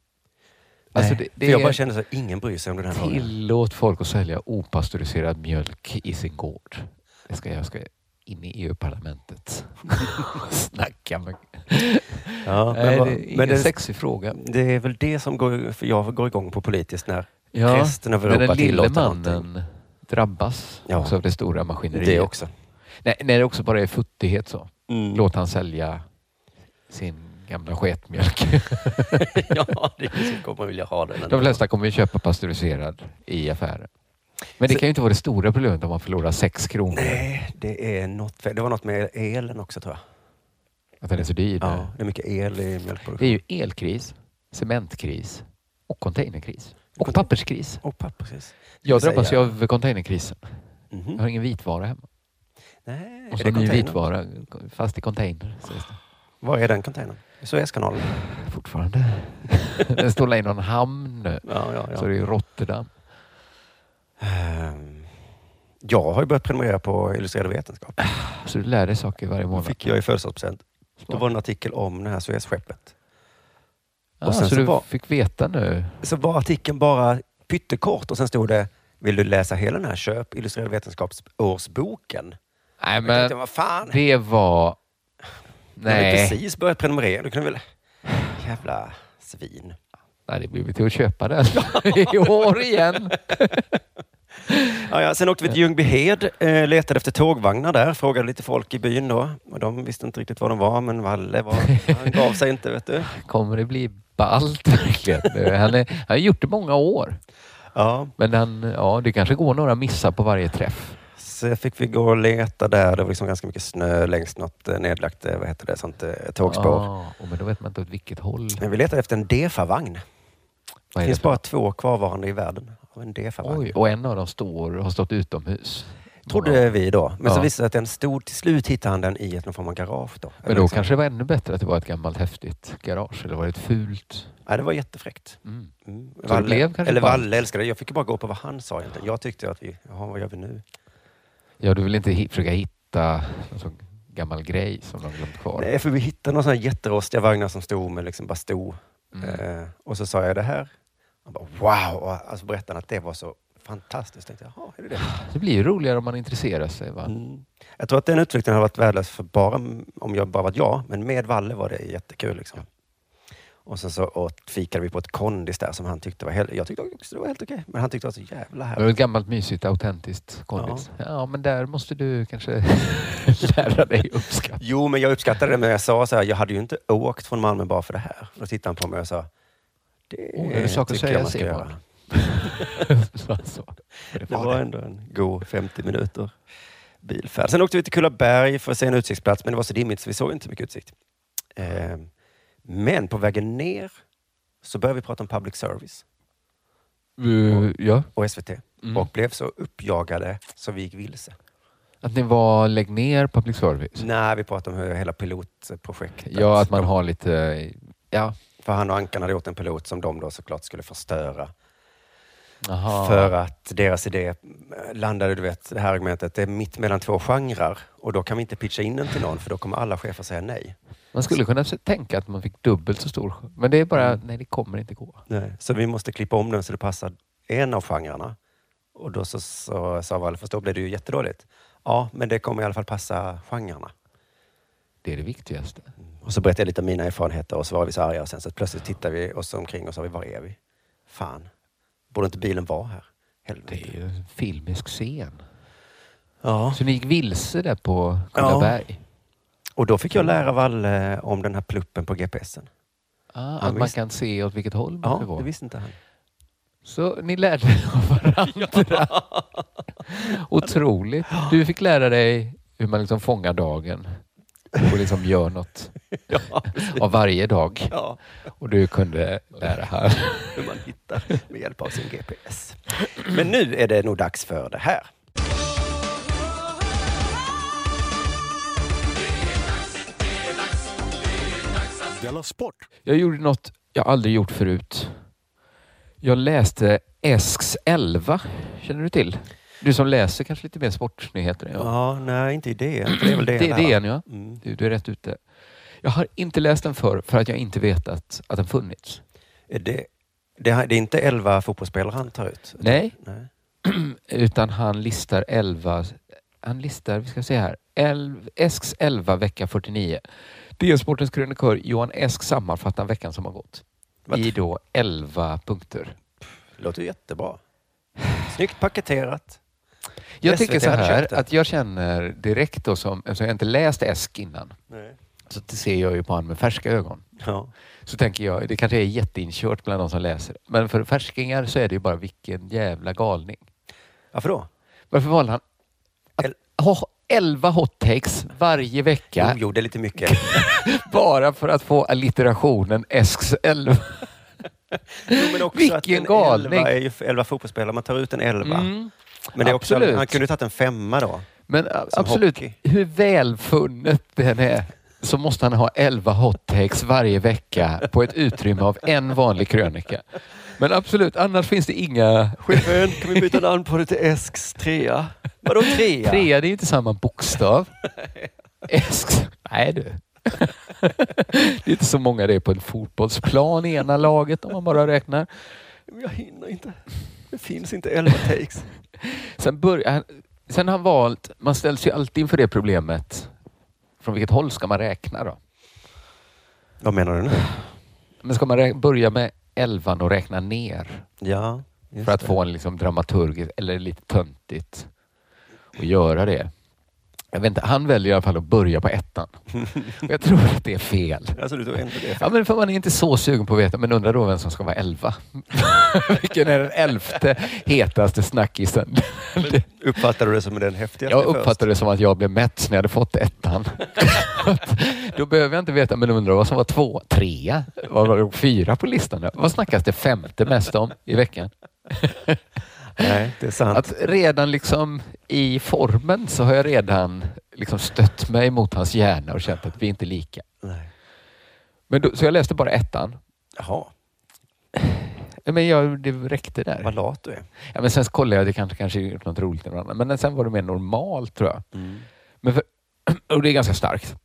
Speaker 7: Alltså det, det
Speaker 6: för jag bara
Speaker 7: är
Speaker 6: kände så här, ingen bryr sig om den här frågan.
Speaker 7: tillåt folk att sälja opastöriserad mjölk i sin gård. Det ska jag ska in i EU-parlamentet och snacka med...
Speaker 6: Ja,
Speaker 7: Nej,
Speaker 6: vad-
Speaker 7: det är ingen
Speaker 6: men det,
Speaker 7: sexig fråga.
Speaker 6: det är väl det som går, för jag går igång på politiskt när
Speaker 7: Ja,
Speaker 6: resten av
Speaker 7: men
Speaker 6: Europa
Speaker 7: den lille
Speaker 6: tillåter
Speaker 7: mannen
Speaker 6: någonting.
Speaker 7: drabbas
Speaker 6: Ja.
Speaker 7: också av det stora maskineriet.
Speaker 6: Det också.
Speaker 7: Nej, nej, det är också bara är futtighet så.
Speaker 6: Mm.
Speaker 7: Låt han sälja sin gamla sketmjölk.
Speaker 6: ja, det är så kommer vilja ha den. ändå.
Speaker 7: De flesta kommer ju köpa pasteuriserad i affären. Men det kan ju inte vara det stora problemet om man förlorar sex kronor.
Speaker 6: Nej, det är något fel. Det var något med elen också tror jag.
Speaker 7: Att den är så dyr.
Speaker 6: Ja, det är mycket el i
Speaker 7: Det
Speaker 6: mjölkproduktion.
Speaker 7: är ju elkris, cementkris och containerkris.
Speaker 6: Contain-
Speaker 7: Och papperskris.
Speaker 6: Och papper, precis.
Speaker 7: Jag
Speaker 6: Ska vi
Speaker 7: drabbas ju
Speaker 6: säga-
Speaker 7: av containerkrisen.
Speaker 6: Mhm.
Speaker 7: Jag har ingen vitvara hemma.
Speaker 6: Nej,
Speaker 7: Och så
Speaker 6: är det
Speaker 7: ny
Speaker 6: containern?
Speaker 7: vitvara fast i container. sägs det.
Speaker 6: Var är den containern? Suezkanalen?
Speaker 7: fortfarande. Den står väl i någon hamn nu.
Speaker 6: Ja, ja, ja.
Speaker 7: Så det är Rotterdam.
Speaker 6: Ehm, Jag har ju börjat prenumerera på Illustrerad vetenskap.
Speaker 7: Så du lär dig saker varje månad.
Speaker 6: fick jag i födelsedagspresent. Då var det en artikel om det här Suezskeppet.
Speaker 7: ah,
Speaker 6: och sen
Speaker 7: så,
Speaker 6: så
Speaker 7: du
Speaker 6: var-
Speaker 7: fick veta nu.
Speaker 6: Så var artikeln bara pyttekort och sen stod det Vill du läsa hela den här? Köp Illustrerad vetenskapsårsboken.
Speaker 7: Nej,
Speaker 6: Jag tänkte,
Speaker 7: men
Speaker 6: vad fan?
Speaker 7: det var...
Speaker 6: Jag har ju
Speaker 7: Nej,
Speaker 6: precis börjat prenumerera. Du kunde väl... Jävla svin.
Speaker 7: Nej det blir vi till att köpa den i år igen.
Speaker 6: Ja, ja. Sen åkte vi till Ljungbyhed, eh, letade efter tågvagnar där, frågade lite folk i byn då. Och de visste inte riktigt var de var, men Valle var, han gav sig inte. vet du.
Speaker 7: Kommer det bli ballt verkligen? Nu? Han, är, han har gjort det många år.
Speaker 6: Ja,
Speaker 7: Men han, ja, det kanske går några missar på varje träff.
Speaker 6: så fick vi gå och leta där. Det var liksom ganska mycket snö längs något eh, nedlagt eh, vad heter det, sånt, eh, tågspår.
Speaker 7: Ah, och men då vet man inte åt vilket håll.
Speaker 6: Men vi letade efter en DEFA-vagn.
Speaker 7: Vad är
Speaker 6: Det
Speaker 7: det
Speaker 6: finns
Speaker 7: för-
Speaker 6: bara två kvarvarande i världen av en DEFA-vagn.
Speaker 7: Oj, och en av dem står, har stått utomhus.
Speaker 6: Trodde vi då. Men så
Speaker 7: Ja.
Speaker 6: visade det sig att den stod, till slut hittade han den i ett någon form av garage. Då. liksom-
Speaker 7: Men då kanske det var ännu bättre att det var ett gammalt häftigt garage. Eller var det ett fult?
Speaker 6: Ja, det var jättefräckt.
Speaker 7: Mm.
Speaker 6: Mm.
Speaker 7: det
Speaker 6: Valle,
Speaker 7: blev kanske
Speaker 6: eller
Speaker 7: ballt.
Speaker 6: Valle älskade det. Jag fick ju bara gå på vad han sa egentligen. Jag tyckte att vi, jaha, vad gör vi nu?
Speaker 7: Ja, du vill inte hi- försöka hitta någon sån gammal grej som de har glömt kvar?
Speaker 6: Nej, för vi hittade några sådana här jätterostiga vagnar som stod med liksom bara stod.
Speaker 7: Mm.
Speaker 6: Eh, och så sa jag det här. Han bara wow! Och alltså berättade han att det var så fantastiskt. Jag tänkte, jaha, är det det?
Speaker 7: Det blir ju roligare om man intresserar sig. Va?
Speaker 6: Mm. Jag tror att den utflykten hade varit värdelös för bara om jag bara varit jag, men med Valle var det jättekul. Liksom. Och sen så åt, fikade vi på ett kondis där som han tyckte var helt, jag tyckte också det var helt okej, men han tyckte det var så jävla
Speaker 7: Det var
Speaker 6: härligt.
Speaker 7: ett gammalt mysigt autentiskt kondis. Ja. men där måste du kanske lära dig uppskatta.
Speaker 6: Jo, men jag uppskattade det, men jag sa så här, jag hade ju inte åkt från Malmö bara för det här. Och då tittade han på mig och sa, det
Speaker 7: Åh, är det saker att
Speaker 6: tycker
Speaker 7: säga,
Speaker 6: jag man ska
Speaker 7: säger
Speaker 6: göra.
Speaker 7: man. Så, så. Det
Speaker 6: Det
Speaker 7: var
Speaker 6: var
Speaker 7: det.
Speaker 6: ändå en god 50 minuter bilfärd. Sen åkte vi till Kullaberg för att se en utsiktsplats, men det var så dimmigt så vi såg inte så mycket utsikt. Eh, Men på vägen ner så började vi prata om public service
Speaker 7: Uh, ja.
Speaker 6: och SVT
Speaker 7: Mm.
Speaker 6: och blev så uppjagade så vi gick vilse.
Speaker 7: Att ni var lägg ner public service?
Speaker 6: När vi pratade om hur hela pilotprojektet...
Speaker 7: Ja, att man har lite... Ja.
Speaker 6: För han och Ankan hade gjort en pilot som de då såklart skulle förstöra.
Speaker 7: Aha.
Speaker 6: För att deras idé eh, landade, du vet, det här argumentet, det är mitt mellan två genrer och då kan vi inte pitcha in den till någon för då kommer alla chefer säga nej.
Speaker 7: Man skulle kunna se- tänka att man fick dubbelt så stor skö- Men det är bara,
Speaker 6: Mm.
Speaker 7: nej det kommer inte gå.
Speaker 6: Nej, så vi måste klippa om den så det passar en av genrerna. Och då så, så sa Valle, fast då blev det ju jättedåligt. Ja, men det kommer i alla fall passa genrerna.
Speaker 7: Det är det viktigaste.
Speaker 6: Och så berättade jag lite om mina erfarenheter och så var vi så arga och sen så plötsligt tittade vi oss omkring och sa, vi, var är vi? Fan, borde inte bilen vara här?
Speaker 7: Det är
Speaker 6: Helvete.
Speaker 7: ju en filmisk scen.
Speaker 6: Ja.
Speaker 7: Så ni gick vilse där på Kullaberg?
Speaker 6: Och då fick jag lära Valle om den här pluppen på GPSen.
Speaker 7: Ah,
Speaker 6: Ja,
Speaker 7: att man
Speaker 6: visst.
Speaker 7: kan se åt vilket håll man ska
Speaker 6: Ja,
Speaker 7: gå?
Speaker 6: det visste inte han.
Speaker 7: Så ni lärde er av varandra? Otroligt. Du fick lära dig hur man liksom fångar dagen och liksom gör något
Speaker 6: Ja,
Speaker 7: av varje dag.
Speaker 6: ja.
Speaker 7: Och du kunde lära här.
Speaker 6: Hur man hittar med hjälp av sin GPS. Men nu är det nog dags för det här.
Speaker 4: Della Sport.
Speaker 7: Jag gjorde något jag aldrig gjort förut. Jag läste Esks 11. Känner du till? Du som läser kanske lite mer sportnyheter än jag.
Speaker 6: Ja, nej, inte idén. för Det är väl det.
Speaker 7: det är
Speaker 6: där, va?
Speaker 7: DN ja.
Speaker 6: Mm.
Speaker 7: Du, du är rätt ute. Jag har inte läst den förr för att jag inte vetat att den funnits.
Speaker 6: Är Det, det, här- det är inte elva fotbollsspelare han tar ut?
Speaker 7: Nej,
Speaker 6: Nej.
Speaker 7: utan han listar 11. Han listar, vi ska se här, Elv, Esks 11 vecka 49. DN-sportens krönikör Johan Esk sammanfattar veckan som har gått
Speaker 6: Vad-
Speaker 7: i då 11 punkter.
Speaker 6: Låter ju jättebra. Snyggt paketerat.
Speaker 7: Jag
Speaker 6: SVT
Speaker 7: tycker så
Speaker 6: hade
Speaker 7: här
Speaker 6: köpt det.
Speaker 7: att jag känner direkt då som, eftersom jag inte läst Esk innan,
Speaker 6: Nej.
Speaker 7: så det ser jag ju på honom med färska ögon.
Speaker 6: Ja.
Speaker 7: Så tänker jag, det kanske är jätteinkört bland de som läser det. Men för färskingar så är det ju bara vilken jävla galning.
Speaker 6: Varför då?
Speaker 7: Varför valde han att
Speaker 6: El-
Speaker 7: ha 11 hot takes varje vecka
Speaker 6: Jo, jo, det är lite mycket.
Speaker 7: bara för att få alliterationen Esks 11?
Speaker 6: Jo, men också att
Speaker 7: Vilken
Speaker 6: en
Speaker 7: galning.
Speaker 6: Elva är ju f- elva fotbollsspelare. Man tar ut en elva.
Speaker 7: Mm.
Speaker 6: Men det är också,
Speaker 7: absolut.
Speaker 6: han kunde ju tagit en femma då.
Speaker 7: Men a- absolut,
Speaker 6: hockey.
Speaker 7: hur välfunnet den är så måste han ha 11 hot takes varje vecka på ett utrymme av en vanlig krönika. Men absolut, annars finns det inga...
Speaker 6: Chefen, kan vi byta namn på det till Esks trea? Vadå trea?
Speaker 7: Trea, det är inte samma bokstav. S, nej du. det är inte så många det är på en fotbollsplan i ena laget om man bara räknar.
Speaker 6: Men Jag hinner inte. Det finns inte elva takes.
Speaker 7: Sen, börjar, sen har han valt, man ställs ju alltid inför det problemet. Från vilket håll ska man räkna då?
Speaker 6: Vad menar du nu?
Speaker 7: Men ska man rä- börja med elvan och räkna ner
Speaker 6: Ja, just
Speaker 7: för att
Speaker 6: det.
Speaker 7: få en liksom dramaturgisk, eller lite töntigt, och göra det? Jag vet inte, han väljer i alla fall att börja på ettan. Och jag tror att det är fel.
Speaker 6: Alltså du tog en på det.
Speaker 7: Ja, men för man är inte så sugen på att veta, men undrar då vem som ska vara elva. Vilken är den elfte hetaste snackisen?
Speaker 6: Uppfattade du det som den häftigaste
Speaker 7: Jag uppfattade det som att jag blev mätt när jag hade fått ettan. Då behöver jag inte veta, men undrar vad som var två, trea, vad var det, fyra på listan? Vad snackas det femte mest om i veckan?
Speaker 6: först? Nej, det är sant.
Speaker 7: Att redan liksom i formen så har jag redan liksom stött mig mot hans hjärna och känt att vi är inte lika.
Speaker 6: Nej.
Speaker 7: Men då, så jag läste bara ettan.
Speaker 6: Jaha,
Speaker 7: Men jag, det räckte där.
Speaker 6: vad lat du är.
Speaker 7: Ja, men sen så kollade jag, det kanske, kanske gjort något roligt eller något annat. Men sen var det mer normalt tror jag.
Speaker 6: Mm.
Speaker 7: Men för, och det är ganska starkt.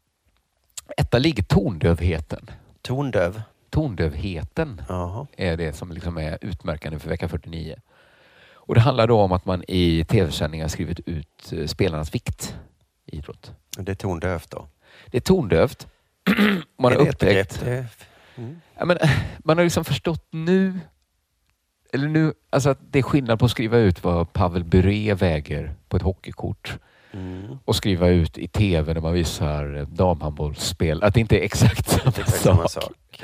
Speaker 7: Etta ligger tondövheten.
Speaker 6: Tondöv.
Speaker 7: Tondövheten
Speaker 6: Jaha.
Speaker 7: är det som liksom är utmärkande för vecka 49. Och det handlar då om att man i tv-sändningar skrivit ut eh, spelarnas vikt i idrott.
Speaker 6: Det är tondövt då.
Speaker 7: Det är tondövt. Man
Speaker 6: är
Speaker 7: har
Speaker 6: det ett
Speaker 7: upptäckt.
Speaker 6: begrepp? Det är-
Speaker 7: Ja, men, man har liksom förstått nu, eller nu, alltså att det är skillnad på att skriva ut vad Pavel Bure väger på ett hockeykort
Speaker 6: Mm.
Speaker 7: och skriva ut i tv när man visar eh, damhandbollsspel, att det inte är exakt samma
Speaker 6: Det är exakt
Speaker 7: sak.
Speaker 6: samma sak.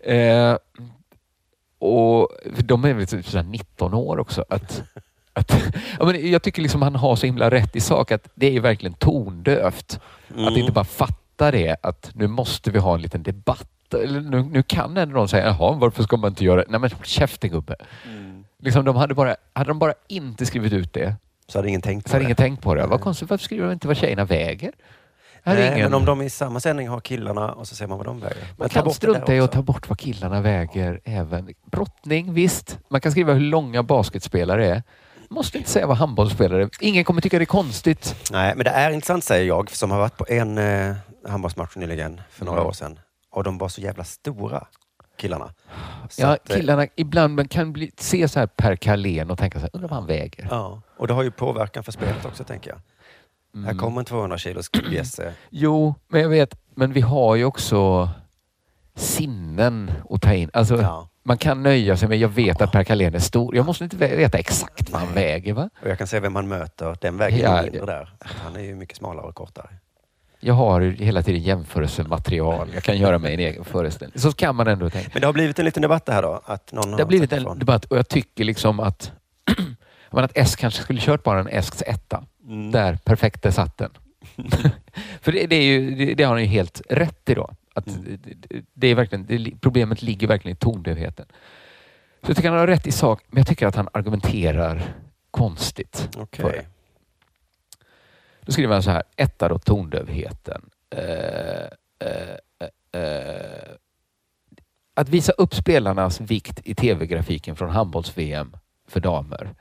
Speaker 6: Eh,
Speaker 7: Eh, och för de är väl typ sådär 19 år också. Att, att, ja, men jag tycker liksom han har så himla rätt i sak att det är ju verkligen tondövt. Att
Speaker 6: Mm.
Speaker 7: inte bara fatta det att nu måste vi ha en liten debatt. Eller nu, nu kan ändå någon säga, jaha, varför ska man inte göra det? Nej men håll käften gubbe. Liksom de hade, bara, hade de bara inte skrivit ut det
Speaker 6: Så hade ingen tänkt
Speaker 7: så
Speaker 6: på
Speaker 7: hade
Speaker 6: det.
Speaker 7: ingen tänkt på det. Vad konstigt, varför skriver de inte vad tjejerna väger? Här är
Speaker 6: Nej,
Speaker 7: ingen-
Speaker 6: Men om de i samma sändning har killarna och så ser man vad de väger. Men
Speaker 7: Man
Speaker 6: ta
Speaker 7: kan
Speaker 6: bort det där
Speaker 7: strunta i att
Speaker 6: också.
Speaker 7: ta bort vad killarna väger även. Brottning, visst. Man kan skriva hur långa basketspelare är. Måste inte säga vad handbollsspelare är. Ingen kommer tycka det är konstigt.
Speaker 6: Nej, men det är intressant säger jag som har varit på en eh, handbollsmatch nyligen för några
Speaker 7: Mm.
Speaker 6: år sedan. Och de var så jävla stora killarna. Så
Speaker 7: Ja,
Speaker 6: att, eh,
Speaker 7: killarna ibland man kan bli, se så här Per Carlén och tänka så här, undrar vad han väger.
Speaker 6: Ja, och det har ju påverkan för spelet också tänker jag.
Speaker 7: Mm.
Speaker 6: Här kommer en 200 kilos E. Jesse.
Speaker 7: Jo, men jag vet. Men vi har ju också sinnen att ta in. Alltså,
Speaker 6: Ja.
Speaker 7: Man kan nöja sig med, jag vet att Per Carlén är stor. Jag måste inte vä- veta exakt vad han
Speaker 6: Nej.
Speaker 7: väger. Va?
Speaker 6: Och jag kan se vem han möter. Den väger ju
Speaker 7: Ja,
Speaker 6: mindre
Speaker 7: ja.
Speaker 6: där. För att Han är ju mycket smalare och kortare.
Speaker 7: Jag har hela tiden jämförelsematerial. Jag kan göra mig en egen föreställning. Så kan man ändå tänka.
Speaker 6: Men det har blivit en liten debatt det här då? Att någon
Speaker 7: Det har blivit
Speaker 6: sagt
Speaker 7: en
Speaker 6: ifrån.
Speaker 7: debatt och jag tycker liksom att, jag menar att S kanske skulle kört bara en Esks etta.
Speaker 6: Mm,
Speaker 7: Där perfekt där satt den. För det, det, är ju, det, det har han ju helt rätt i då. Att det- det, det är verkligen, det, li- problemet ligger verkligen i tondövheten. Så jag tycker han har rätt i sak, men jag tycker att han argumenterar konstigt.
Speaker 6: Okej.
Speaker 7: för det. Då skriver han så här, etta då tondövheten. Eh, eh, eh. Att visa upp spelarnas vikt i tv-grafiken från handbolls-VM för damer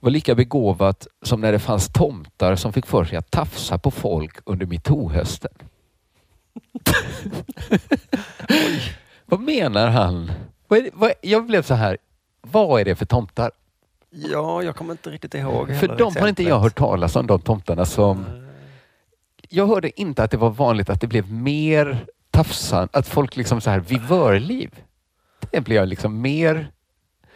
Speaker 7: var lika begåvat som när det fanns tomtar som fick för sig att tafsa på folk under metoo-hösten. vad menar han? Vad är det, vad, jag blev så här, vad är det för tomtar?
Speaker 6: Ja, jag kommer inte riktigt ihåg.
Speaker 7: För
Speaker 6: heller
Speaker 7: de har inte
Speaker 6: exemplet.
Speaker 7: jag hört talas om, de tomtarna som... Jag hörde inte att det var vanligt att det blev mer tafsan, att folk liksom så här vivörliv. Det blev jag liksom mer...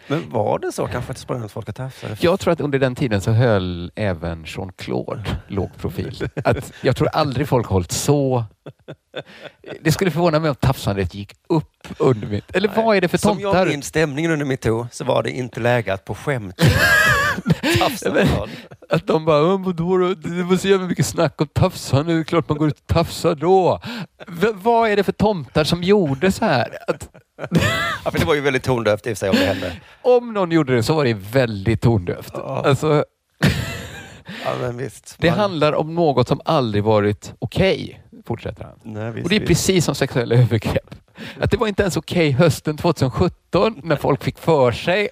Speaker 6: Men var det så kanske att det sprang runt folk och tafsade?
Speaker 7: Jag tror att under den tiden så höll även Jean-Claude låg profil. Att jag tror aldrig folk har hållit så... Det skulle förvåna mig om tafsandet gick upp under mitt... Eller vad är det för
Speaker 6: Som jag
Speaker 7: tomtar?
Speaker 6: minns stämningen under metoo så var det inte läge att på skämt tafsa på någon.
Speaker 7: Att de bara, "Åh, vadå då? Det var så jävla mycket snack om tafsa nu. Det är klart man går ut och tafsar då. V- vad är det för tomtar som gjorde så här? Att,
Speaker 6: Ja, för det var ju väldigt tondövt i och för sig om det hände.
Speaker 7: om någon gjorde det så var det väldigt tondövt.
Speaker 6: Ja.
Speaker 7: Alltså,
Speaker 6: Ja, men visst.
Speaker 7: det
Speaker 6: Man-
Speaker 7: handlar om något som aldrig varit okej fortsätter han.
Speaker 6: Nej, visst,
Speaker 7: Och det är
Speaker 6: visst.
Speaker 7: precis som sexuella övergrepp. Att det var inte ens okej hösten 2017 när folk fick för sig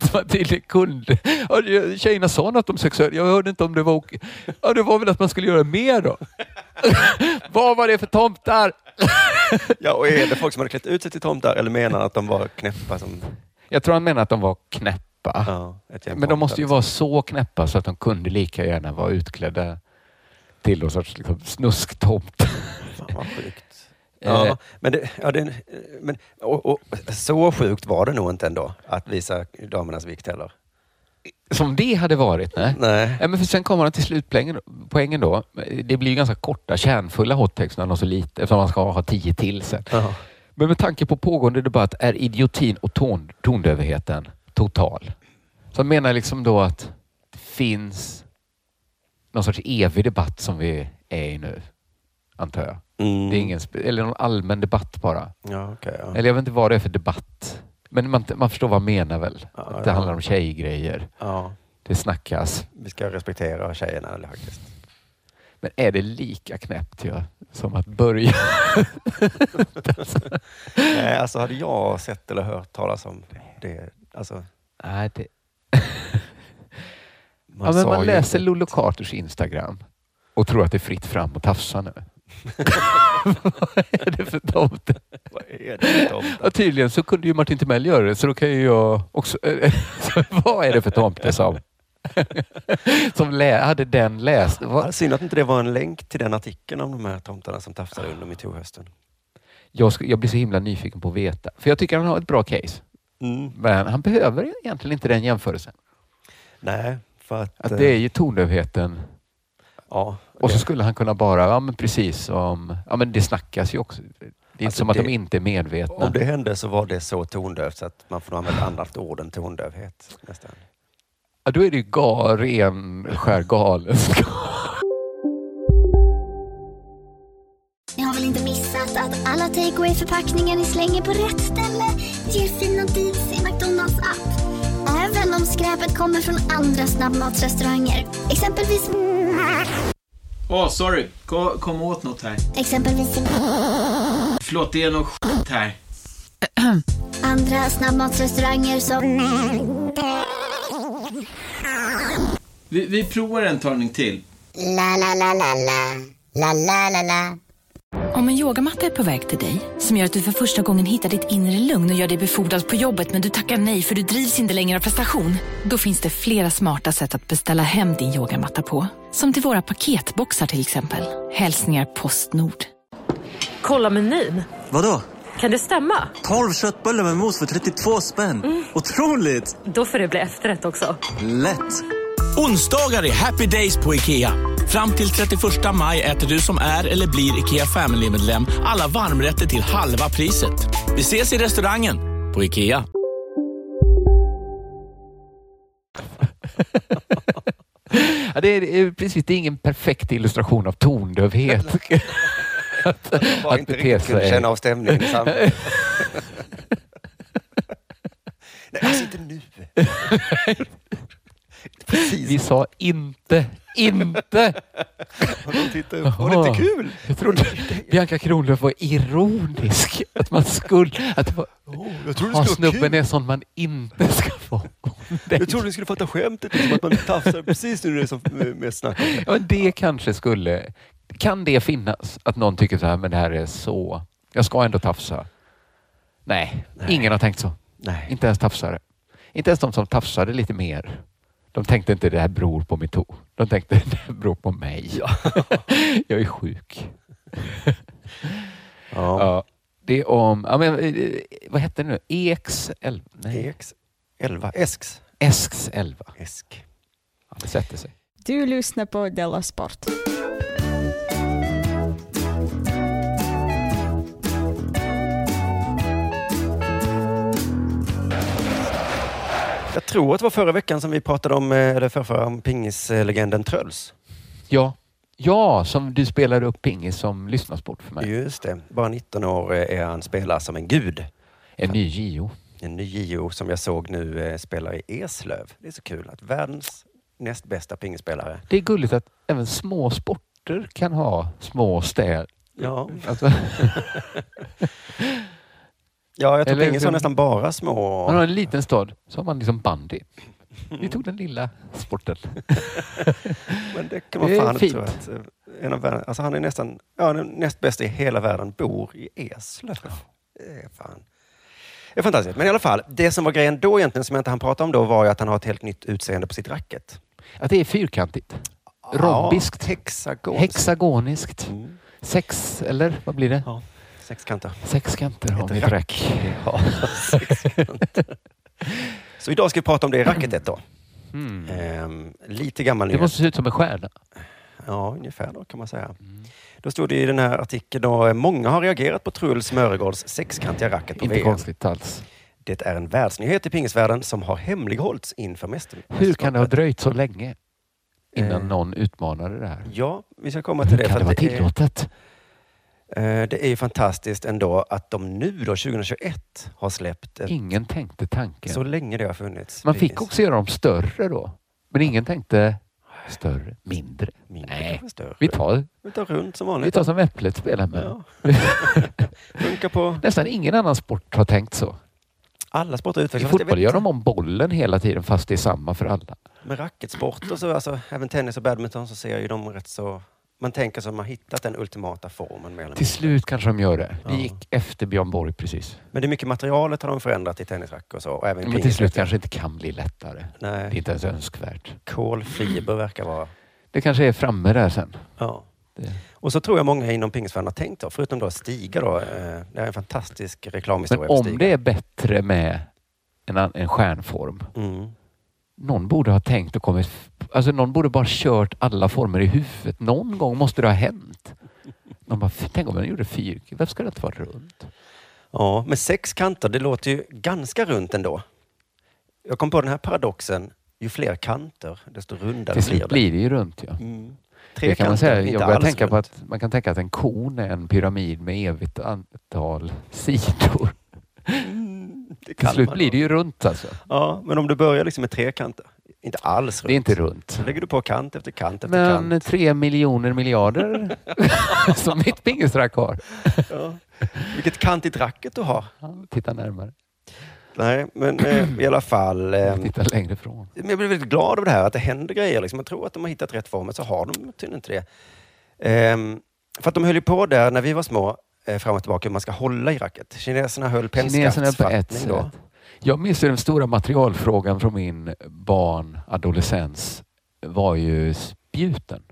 Speaker 7: att man tydligen kunde. Ja, det- Tjejerna sa något om sexuella... Jag hörde inte om det var okej. Ja, det var väl att man skulle göra mer då. Vad var det för tomtar?
Speaker 6: Ja, och är det folk som hade klätt ut sig till tomtar eller menar att de var knäppa som...
Speaker 7: Jag tror han menar att de var knäppa.
Speaker 6: Ja, ett gäng
Speaker 7: Men
Speaker 6: tomtar,
Speaker 7: de måste ju
Speaker 6: liksom.
Speaker 7: vara så knäppa så att de kunde lika gärna vara utklädda till någon sorts liksom, snusktomt.
Speaker 6: Fan vad sjukt.
Speaker 7: Eh.
Speaker 6: Ja, men, det, ja, det, men och, och, så sjukt var det nog inte ändå att visa damernas vikt heller.
Speaker 7: Som det hade varit. Nej.
Speaker 6: Nej.
Speaker 7: Ja, men för sen kommer han till slutpoängen poängen då. Det blir ju ganska korta, kärnfulla hottext när han har så lite, eftersom han ska ha tio till sen.
Speaker 6: Ja.
Speaker 7: Men med tanke på pågående debatt är idiotin och ton, tondövheten total. Så han menar liksom då att det finns någon sorts evig debatt som vi är i nu, antar jag.
Speaker 6: Mm.
Speaker 7: Det är ingen, spe- eller någon allmän debatt bara.
Speaker 6: Ja, okej. ja.
Speaker 7: Eller jag vet inte vad det är för debatt. Men man, man förstår vad han menar väl?
Speaker 6: Ja,
Speaker 7: att det
Speaker 6: ja.
Speaker 7: handlar om tjejgrejer.
Speaker 6: ja,
Speaker 7: Det snackas.
Speaker 6: vi ska respektera tjejerna eller faktiskt.
Speaker 7: Men är det lika knäppt ja, som att börja?
Speaker 6: Nej, alltså hade jag sett eller hört talas om det, alltså...
Speaker 7: Nej, det...
Speaker 6: Man
Speaker 7: man, ja, men
Speaker 6: sa
Speaker 7: man
Speaker 6: ju
Speaker 7: läser
Speaker 6: inte-
Speaker 7: Lollo Carters Instagram och tror att det är fritt fram att tafsa nu. Vad är det för tomte?
Speaker 6: Vad är det för tomtar?
Speaker 7: Ja, tydligen så kunde ju Martin Timell göra det, så då kan ju jag också... Så Vad är det för tomte som, som lä, hade den läst?
Speaker 6: Ja,
Speaker 7: Vad-
Speaker 6: Synd att inte det var en länk till den artikeln om de här tomtarna som tafsade under metoo-hösten.
Speaker 7: Jag, sk- jag blir så himla nyfiken på att veta. För jag tycker han har ett bra case. Men han behöver egentligen inte den jämförelsen.
Speaker 6: Nej, för att...
Speaker 7: Att
Speaker 6: eh,
Speaker 7: det är ju tondövheten
Speaker 6: ja,
Speaker 7: Och så
Speaker 6: det-
Speaker 7: skulle han kunna bara, ja men precis som, ja men det snackas ju också. Det är inte
Speaker 6: Alltså
Speaker 7: som att
Speaker 6: det-
Speaker 7: de inte är medvetna.
Speaker 6: Om det hände så var det så tondövt så att man får nog använda annat ord än tondövhet. Nästan.
Speaker 7: Ja, då är det ju ga, ren, skär galenskap.
Speaker 9: Ni har väl inte missat att alla takeaway förpackningar ni slänger på rätt ställe ger fina deals i McDonalds app. Även om skräpet kommer från andra snabbmatsrestauranger. Exempelvis...
Speaker 10: Åh, sorry. Kom, kom åt något här.
Speaker 9: Exempelvis...
Speaker 10: Förlåt, det är något skit här.
Speaker 9: Andra snabbmatsrestauranger som...
Speaker 10: Vi, vi provar en talning till.
Speaker 9: La, la, la, la, la. La, la, la, la.
Speaker 11: Om en yogamatta är på väg till dig, som gör att du för första gången hittar ditt inre lugn och gör dig befordrad på jobbet men du tackar nej för du drivs inte längre av prestation. Då finns det flera smarta sätt att beställa hem din yogamatta på. Som till våra paketboxar till exempel. Hälsningar Postnord.
Speaker 12: Kolla menyn.
Speaker 13: Vadå?
Speaker 12: Kan det stämma?
Speaker 13: 12 köttbullar med mos för 32 spänn. Otroligt!
Speaker 12: Då får det bli efterrätt också.
Speaker 13: Lätt!
Speaker 14: Onsdagar är happy days på IKEA. Fram till 31 maj äter du som är eller blir IKEA Family-medlem alla varmrätter till halva priset. Vi ses i restaurangen på IKEA.
Speaker 7: Ja, det, är, det är precis, det är ingen perfekt illustration av tondövhet. att,
Speaker 6: Bara inte riktigt kunde känna av stämningen i samhället. Nej, alltså inte nu.
Speaker 7: Vi sa inte, inte.
Speaker 6: Och de tittar upp. Var det inte kul?
Speaker 7: Jag trodde Bianca Kronlöf var ironisk. Att man skulle... Att det var,
Speaker 6: jag trodde det
Speaker 7: "Ha,
Speaker 6: skulle vara
Speaker 7: snubben
Speaker 6: kul."
Speaker 7: är sån man inte ska vara.
Speaker 6: Jag trodde ni skulle fatta skämtet, liksom, att man tafsar precis nu när det är som mest snack. om.
Speaker 7: Ja, men det kanske skulle... Kan det finnas att någon tycker så här, men det här är så... Jag ska ändå tafsa. Nej, ingen har tänkt så.
Speaker 6: Nej.
Speaker 7: Inte ens tafsare. Inte ens de som tafsade lite mer. De tänkte inte det här beror på metoo. De tänkte det här beror på mig. jag är sjuk.
Speaker 6: Ja.
Speaker 7: Ja, det är om... Ja, men, eh, vad hette det nu? EX11? Nej.
Speaker 6: EX11. ESKS.
Speaker 7: ESKS11.
Speaker 6: ESK.
Speaker 7: Ja, det sätter sig.
Speaker 15: Du lyssnar på Della Sport.
Speaker 6: Jag tror att det var förra veckan som vi pratade om, eh, eller förrförra, om pingislegenden Tröls.
Speaker 7: Ja. ja, som du spelade upp pingis som lyssnarsport för mig.
Speaker 6: Just det. Bara 19 år eh, är han spelar som en gud.
Speaker 7: En ny JO.
Speaker 6: En ny JO som jag såg nu eh, spelar i Eslöv. Det är så kul att världens näst bästa pingisspelare
Speaker 7: Det är gulligt att även små sporter orter kan ha små städer.
Speaker 6: Ja.
Speaker 7: Alltså,
Speaker 6: Ja, jag
Speaker 7: Eller
Speaker 6: tror Eller, ingen som
Speaker 7: liksom-
Speaker 6: nästan bara små...
Speaker 7: man har en liten stad, så har man liksom bandy. Vi tog den lilla sporten.
Speaker 6: Men det kan man
Speaker 7: Det är
Speaker 6: fan inte
Speaker 7: fint.
Speaker 6: tro att eh, en av världen, alltså han är nästan, ja den näst bästa i hela världen bor i Eslöv. Det är fan. Det är fantastiskt. Men i alla fall, det som var grejen då egentligen, som jag inte hann prata om då, var ju att han har ett helt nytt utseende på sitt racket.
Speaker 7: Att det är fyrkantigt. Rombiskt.
Speaker 6: Ja, hexagoniskt.
Speaker 7: Hexagoniskt. Sex, eller vad blir det?
Speaker 6: Mm. Ja, sexkanter.
Speaker 7: Sexkanter har
Speaker 6: Ett
Speaker 7: vi ett rack.
Speaker 6: Ja, sexkanter. Så idag ska vi prata om det racketet då. Ehm, lite gammal
Speaker 7: Mm. Det
Speaker 6: nyhet.
Speaker 7: måste se ut som en stjärna.
Speaker 6: Ja, ungefär då kan man säga. Då stod det i den här artikeln då, eh, många har reagerat på Truls Mörgårds sexkantiga racket på
Speaker 7: Inte
Speaker 6: VM.
Speaker 7: konstigt alls.
Speaker 6: Det är en världsnyhet i pingisvärlden som har hemlighållits inför mästerskapet.
Speaker 7: Hur kan det ha dröjt så länge
Speaker 6: Eh.
Speaker 7: innan någon utmanade det här?
Speaker 6: Ja, vi ska komma till
Speaker 7: Hur
Speaker 6: det.
Speaker 7: kan
Speaker 6: för
Speaker 7: det vara
Speaker 6: att är-
Speaker 7: tillåtet?
Speaker 6: eh, det är ju fantastiskt ändå att de nu då, 2021, har släppt ett,
Speaker 7: Ingen tänkte tanken.
Speaker 6: så länge det har funnits.
Speaker 7: Man
Speaker 6: Precis.
Speaker 7: fick också göra dem större då. Men ingen tänkte större, mindre.
Speaker 6: Mindre
Speaker 7: Nej,
Speaker 6: kanske större.
Speaker 7: vi tar,
Speaker 6: Vi tar runt som vanligt.
Speaker 7: vi tar som Äpplet spelar med.
Speaker 6: Ja. Funkar på
Speaker 7: Nästan ingen annan sport har tänkt så.
Speaker 6: alla sporter
Speaker 7: I
Speaker 6: utvecklas. Fast jag
Speaker 7: fotboll
Speaker 6: vet
Speaker 7: gör de om bollen hela tiden fast det är samma för alla.
Speaker 6: Med racketsport och så, alltså, även tennis och badminton, så ser jag ju dem rätt så... Man tänker som man har hittat den ultimata formen. Mer eller
Speaker 7: Till
Speaker 6: mindre.
Speaker 7: slut kanske de gör det. Det
Speaker 6: Ja.
Speaker 7: gick efter Björn Borg precis.
Speaker 6: Men det är mycket materialet har de förändrat i tennisracket och så. Och även
Speaker 7: Men till
Speaker 6: pingis.
Speaker 7: slut kanske inte kan bli lättare. Det är
Speaker 6: Nej,
Speaker 7: inte ens önskvärt.
Speaker 6: kolfiber verkar vara...
Speaker 7: Det kanske är framme där sen.
Speaker 6: Ja.
Speaker 7: Det-
Speaker 6: Och så tror jag många inom pingisvärlden har tänkt då, förutom då Stiga då. eh, Det är en fantastisk
Speaker 7: Men
Speaker 6: reklamhistoria för
Speaker 7: om
Speaker 6: Stiga.
Speaker 7: det är bättre med en, an- en stjärnform.
Speaker 6: Mm.
Speaker 7: Någon borde ha tänkt och kommit... Alltså någon borde bara kört alla former i huvudet. Någon gång måste det ha hänt. Någon bara, "Fy, tänk om den gjorde fyrkant. Varför ska det inte vara runt?
Speaker 6: Ja, men sex kanter, det låter ju ganska runt ändå. Jag kom på den här paradoxen. Ju fler kanter, desto rundare
Speaker 7: Till
Speaker 6: blir
Speaker 7: slut
Speaker 6: det.
Speaker 7: blir det ju runt ja.
Speaker 6: Mm.
Speaker 7: Det kan man
Speaker 6: Trekanter,
Speaker 7: säga.
Speaker 6: inte
Speaker 7: Jag börjar
Speaker 6: alls
Speaker 7: tänka på
Speaker 6: runt.
Speaker 7: att man kan tänka att en kon är en pyramid med evigt antal sidor.
Speaker 6: Det
Speaker 7: Till
Speaker 6: kan
Speaker 7: slut
Speaker 6: man
Speaker 7: blir
Speaker 6: då.
Speaker 7: det ju runt alltså.
Speaker 6: Ja, men om du börjar liksom med trekanter. Inte alls runt.
Speaker 7: Det är inte runt.
Speaker 6: Så lägger du på kant efter kant efter kant.
Speaker 7: Men tre miljoner miljarder som mitt pingisrack har.
Speaker 6: Ja. Vilket kantigt racket du har.
Speaker 7: Ja, Titta närmare.
Speaker 6: Nej, men eh, i alla fall. Eh,
Speaker 7: Titta längre ifrån.
Speaker 6: men jag blir väldigt glad av det här, att det händer grejer. Liksom. Jag tror att de har hittat rätt form, men så har de tydligen inte det. Ehm, för att de höll ju på där när vi var små, eh, fram och tillbaka, hur man ska hålla i racket. Kineserna höll på en
Speaker 7: Kineserna på ett
Speaker 6: skattfattning då.
Speaker 7: sätt. Jag minns ju den stora materialfrågan från min barn, adolescens, var ju spjuten.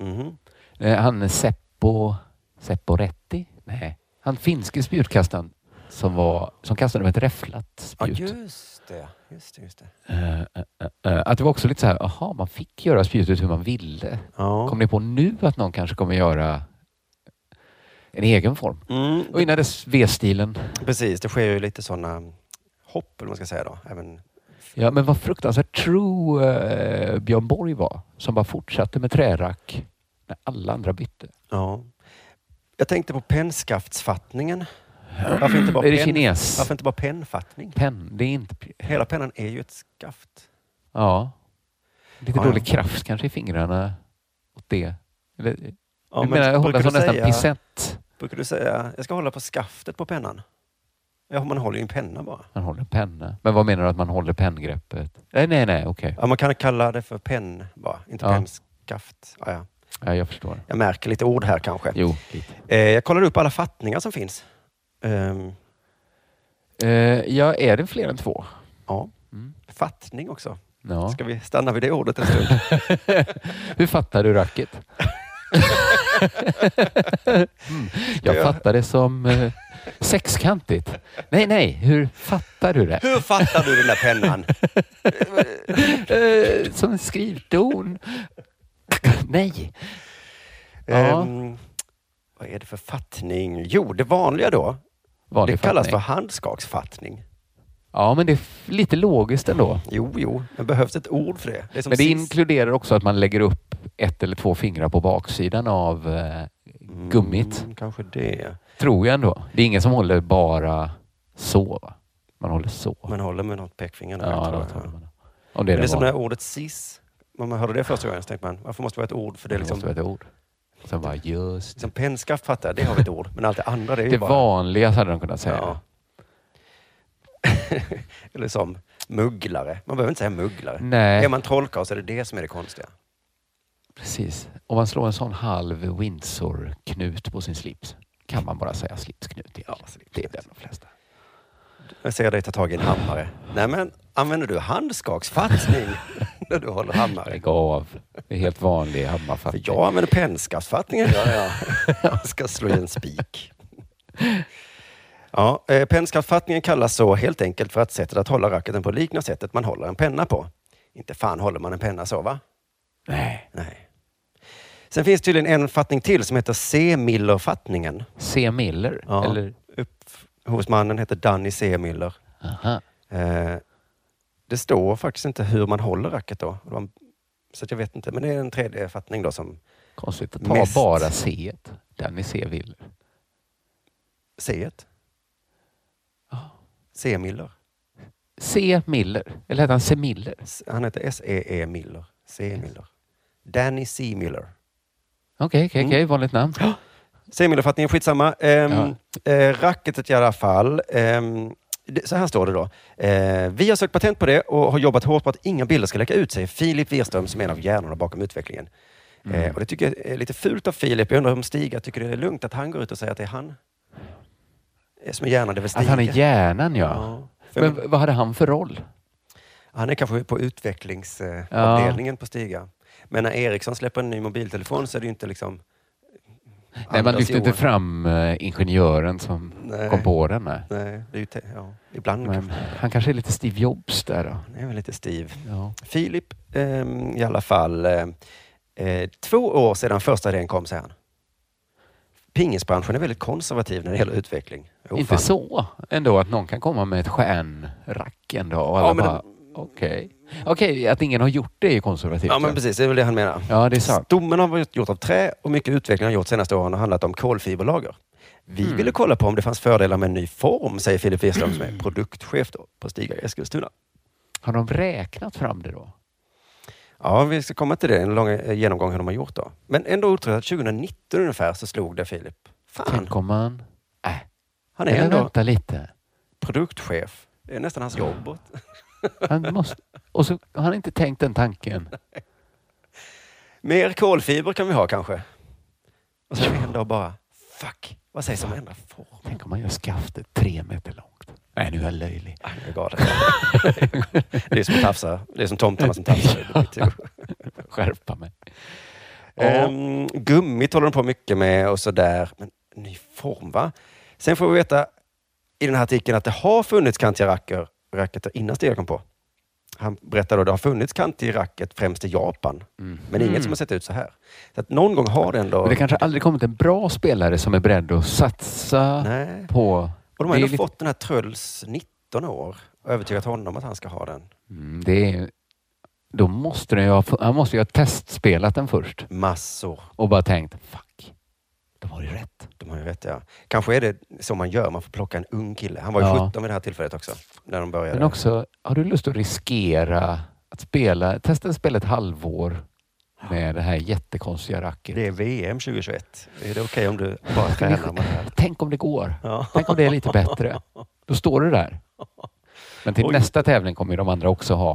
Speaker 6: Mhm.
Speaker 7: Eh, Han Seppo, Seppo Retti? Nej, han finske spjutkastaren som, var, som kastade med ett räfflat
Speaker 6: Ja,
Speaker 7: spjut.
Speaker 6: just det. Just det, just det.
Speaker 7: Eh, eh, eh, eh, Att det var också lite så här, aha, man fick göra spjutet hur man ville.
Speaker 6: Ja.
Speaker 7: Kom ni på nu att någon kanske kommer göra en egen form?
Speaker 6: Mm,
Speaker 7: Och innan dess V-stilen.
Speaker 6: precis, det sker ju lite sådana hopp, eller vad man ska säga då. Även
Speaker 7: Ja, men vad fruktansvärt true eh, Björn Borg var som bara fortsatte med trärack när alla andra bytte.
Speaker 6: Ja. Jag tänkte på pennskaftsfattningen. Varför inte bara,
Speaker 7: Är det
Speaker 6: penn-
Speaker 7: kines?
Speaker 6: varför inte bara pennfattning?
Speaker 7: Penn, det är inte...
Speaker 6: Hela pennan är ju ett skaft.
Speaker 7: Ja. Lite
Speaker 6: Ja,
Speaker 7: dålig
Speaker 6: ja.
Speaker 7: kraft kanske i fingrarna åt det. Eller,
Speaker 6: Ja,
Speaker 7: du menar hålla
Speaker 6: brukar,
Speaker 7: som
Speaker 6: du
Speaker 7: nästan
Speaker 6: säga,
Speaker 7: pisett?
Speaker 6: brukar du säga, jag ska hålla på skaftet på pennan? Ja, man håller ju en penna bara.
Speaker 7: Man håller penna. Men vad menar du att man håller penngreppet? Nej, nej, nej, okej.
Speaker 6: Ja, man kan kalla det för penn bara, inte
Speaker 7: Ja.
Speaker 6: pennskaft. Ja, ja.
Speaker 7: Ja, jag förstår.
Speaker 6: Jag märker lite ord här kanske.
Speaker 7: Jo, lite.
Speaker 6: Eh, jag kollade upp alla fattningar som finns. Ehm,
Speaker 7: Eh, ja, är det fler än två?
Speaker 6: ja,
Speaker 7: Mm.
Speaker 6: fattning också.
Speaker 7: Ja.
Speaker 6: Ska vi stanna vid det ordet en stund?
Speaker 7: Hur fattar du racket? mm. Jag fattar det som eh, sexkantigt. Nej, nej, hur fattar du det?
Speaker 6: Hur fattar du den där pennan?
Speaker 7: Eh, som en skrivdon. nej. Ja.
Speaker 6: Ehm, vad är det för fattning? Jo, det vanliga då.
Speaker 7: Vanlig
Speaker 6: det kallas
Speaker 7: fattning.
Speaker 6: för handskaksfattning.
Speaker 7: Ja, men det är f- lite logiskt ändå.
Speaker 6: Jo, jo, men behövs ett ord för det? det är som
Speaker 7: Men det
Speaker 6: Mm. sist.
Speaker 7: inkluderar också att man lägger upp ett eller två fingrar på baksidan av eh, gummit.
Speaker 6: Mm, kanske det.
Speaker 7: Tror jag ändå. Det är ingen som håller bara så. Va? Man håller så.
Speaker 6: Man håller med något pekfinger. Där,
Speaker 7: ja,
Speaker 6: tror
Speaker 7: då
Speaker 6: jag.
Speaker 7: tar
Speaker 6: Men
Speaker 7: man. Om
Speaker 6: det
Speaker 7: det
Speaker 6: är
Speaker 7: är det,
Speaker 6: som det
Speaker 7: vanliga.
Speaker 6: här ordet sis. När man hörde det första gången så tänkte man, varför måste det vara ett ord för det?
Speaker 7: Det måste
Speaker 6: Liksom,
Speaker 7: vara ett ord. Sen bara, just
Speaker 6: Som pennskaft fattar jag, det har vi ett ord. Men allt det andra, det är ju
Speaker 7: det
Speaker 6: bara...
Speaker 7: vanliga hade de kunnat säga.
Speaker 6: Ja. Eller som mugglare. Man behöver inte säga mugglare.
Speaker 7: Nej.
Speaker 6: Är man trollkarl så är det det som är det konstiga.
Speaker 7: Precis. Om man slår en sån halv Windsor-knut på sin slips kan man bara säga slipsknut. Ja,
Speaker 6: Alltså,
Speaker 7: Det är den de flesta.
Speaker 6: Jag ser dig ta tag i en hammare. Nej men, använder du handskaksfattning när du håller hammare?
Speaker 7: Lägg av. Det är helt vanlig hammarfattning.
Speaker 6: Jag använder pennskaftfattningen. Ja, ja. Jag ska slå i en spik. Ja, eh, pennskaftfattningen kallas så helt enkelt för att sättet att hålla racketen på liknar sättet man håller en penna på. Inte fan håller man en penna så, va?
Speaker 7: Nej.
Speaker 6: Nej. Sen finns tydligen en fattning till som heter C. Miller-fattningen.
Speaker 7: C. Miller?
Speaker 6: Ja.
Speaker 7: Eller?
Speaker 6: Upphovsmannen heter Danny C. Miller.
Speaker 7: Aha.
Speaker 6: Eh, det står faktiskt inte hur man håller racket då. Det var en- Så att jag vet inte. Men det är en tredje fattning då som
Speaker 7: Konstigt att ta
Speaker 6: Mest.
Speaker 7: bara C. Den ni ser vill.
Speaker 6: C. C. Miller.
Speaker 7: C. Miller. Eller hette han C. Miller?
Speaker 6: Han heter S.E.E. Miller. C. Miller. Danny C. Miller.
Speaker 7: Okej,
Speaker 6: Mm.
Speaker 7: okej, okej. Vanligt namn.
Speaker 6: C. Miller-fattningen, skitsamma. Um, racketet i alla fall. Ehm, det, så här står det då. Eh, vi har sökt patent på det och har jobbat hårt på att inga bilder ska läcka ut, säger Filip Wirström som är en av hjärnorna bakom utvecklingen.
Speaker 7: Mm.
Speaker 6: Eh, och Det tycker jag är lite fult av Filip. Jag undrar om Stiga tycker det är lugnt att han går ut och säger att det är han Eh, som är hjärnan. Det är väl
Speaker 7: Att
Speaker 6: Stiga.
Speaker 7: han är hjärnan, ja.
Speaker 6: För-
Speaker 7: Men vad hade han för roll?
Speaker 6: Han är kanske på utvecklingsavdelningen på Stiga. Men när Ericsson släpper en ny mobiltelefon så är det ju inte liksom...
Speaker 7: Nej, man
Speaker 6: Anders
Speaker 7: lyfte inte
Speaker 6: Johan.
Speaker 7: fram eh, ingenjören som
Speaker 6: Nej. Mm.
Speaker 7: kom på den. Nej.
Speaker 6: Nej, det är ju te- ja, ibland
Speaker 7: Men han kanske är lite Steve Jobs där då.
Speaker 6: Han är väl lite stiv.
Speaker 7: Ja.
Speaker 6: Filip, ehm, i alla fall. Eh, eh, två år sedan första idén kom, säger han. Pingisbranschen är väldigt konservativ när det gäller utveckling. Jo,
Speaker 7: Oh, inte
Speaker 6: fan.
Speaker 7: så ändå att någon kan komma med ett stjärnrack en dag och alla
Speaker 6: Ja, men-
Speaker 7: bara okej. Okej, att ingen har gjort det är konservativt.
Speaker 6: Ja, men precis. Det är väl det han menar.
Speaker 7: Ja, det är sant.
Speaker 6: Stommen har varit gjort av trä och mycket utveckling har gjorts senaste åren har handlat om kolfiberlager. Vi
Speaker 7: Mm.
Speaker 6: ville kolla på om det fanns fördelar med en ny form, säger Filip Wirström som
Speaker 7: Mm.
Speaker 6: är produktchef då, på Stiga i Eskilstuna.
Speaker 7: Har de räknat fram det då?
Speaker 6: Ja, vi ska komma till det. En lång eh, genomgång hur de har gjort då. Men ändå otroligt, 2019 ungefär så slog det Filip. Fan,
Speaker 7: Tänk om man...
Speaker 6: han är
Speaker 7: Eller
Speaker 6: ändå
Speaker 7: vänta lite.
Speaker 6: produktchef. Det är nästan hans jobb.
Speaker 7: Han måste... Och så har han inte tänkt den tanken.
Speaker 6: Mer kolfiber kan vi ha kanske. Och sen en dag bara, fuck, vad sägs om att ändra form?
Speaker 7: Tänk om man gör skaftet tre meter långt. Nej, nu är jag löjlig.
Speaker 6: Ah, Jag är galen. det är som att tafsa. Det är som tomtarna som tafsar. Det blir tur.
Speaker 7: Skärpa mig.
Speaker 6: Ehm, gummit håller de på mycket med och sådär. Men ny form va? Sen får vi veta i den här artikeln att det har funnits kantiga racker, racketer innan Stig kom på. Han berättade att det har funnits kantig racket främst i Japan. Men inget som har sett ut så här. Så att någon gång har det ändå...
Speaker 7: Mm. Men det kanske aldrig kommit en bra spelare som är beredd att satsa
Speaker 6: Nej.
Speaker 7: på...
Speaker 6: Och de
Speaker 7: det,
Speaker 6: har
Speaker 7: är
Speaker 6: ändå
Speaker 7: lite-
Speaker 6: fått den här Trulls 19 år och övertygat honom att han ska ha den.
Speaker 7: Mm, det är... Då måste den ju ha... fu- Han måste ju ha testspelat den först
Speaker 6: Massor.
Speaker 7: och bara tänkt fuck, de har ju rätt.
Speaker 6: De har ju rätt, ja. Kanske är det så man gör, man får plocka en ung kille. Han var ju
Speaker 7: Ja.
Speaker 6: 17 vid det här tillfället också, när de började.
Speaker 7: Men också, har du lust att riskera att spela, testa att spela ett halvår med det här jättekonstiga racket?
Speaker 6: Det är VM 2021. Är det okej om du bara tränar med det här?
Speaker 7: Tänk om det går.
Speaker 6: Ja.
Speaker 7: Tänk om det är lite bättre. Då står du där. Men till
Speaker 6: Oj.
Speaker 7: nästa tävling kommer ju de andra också ha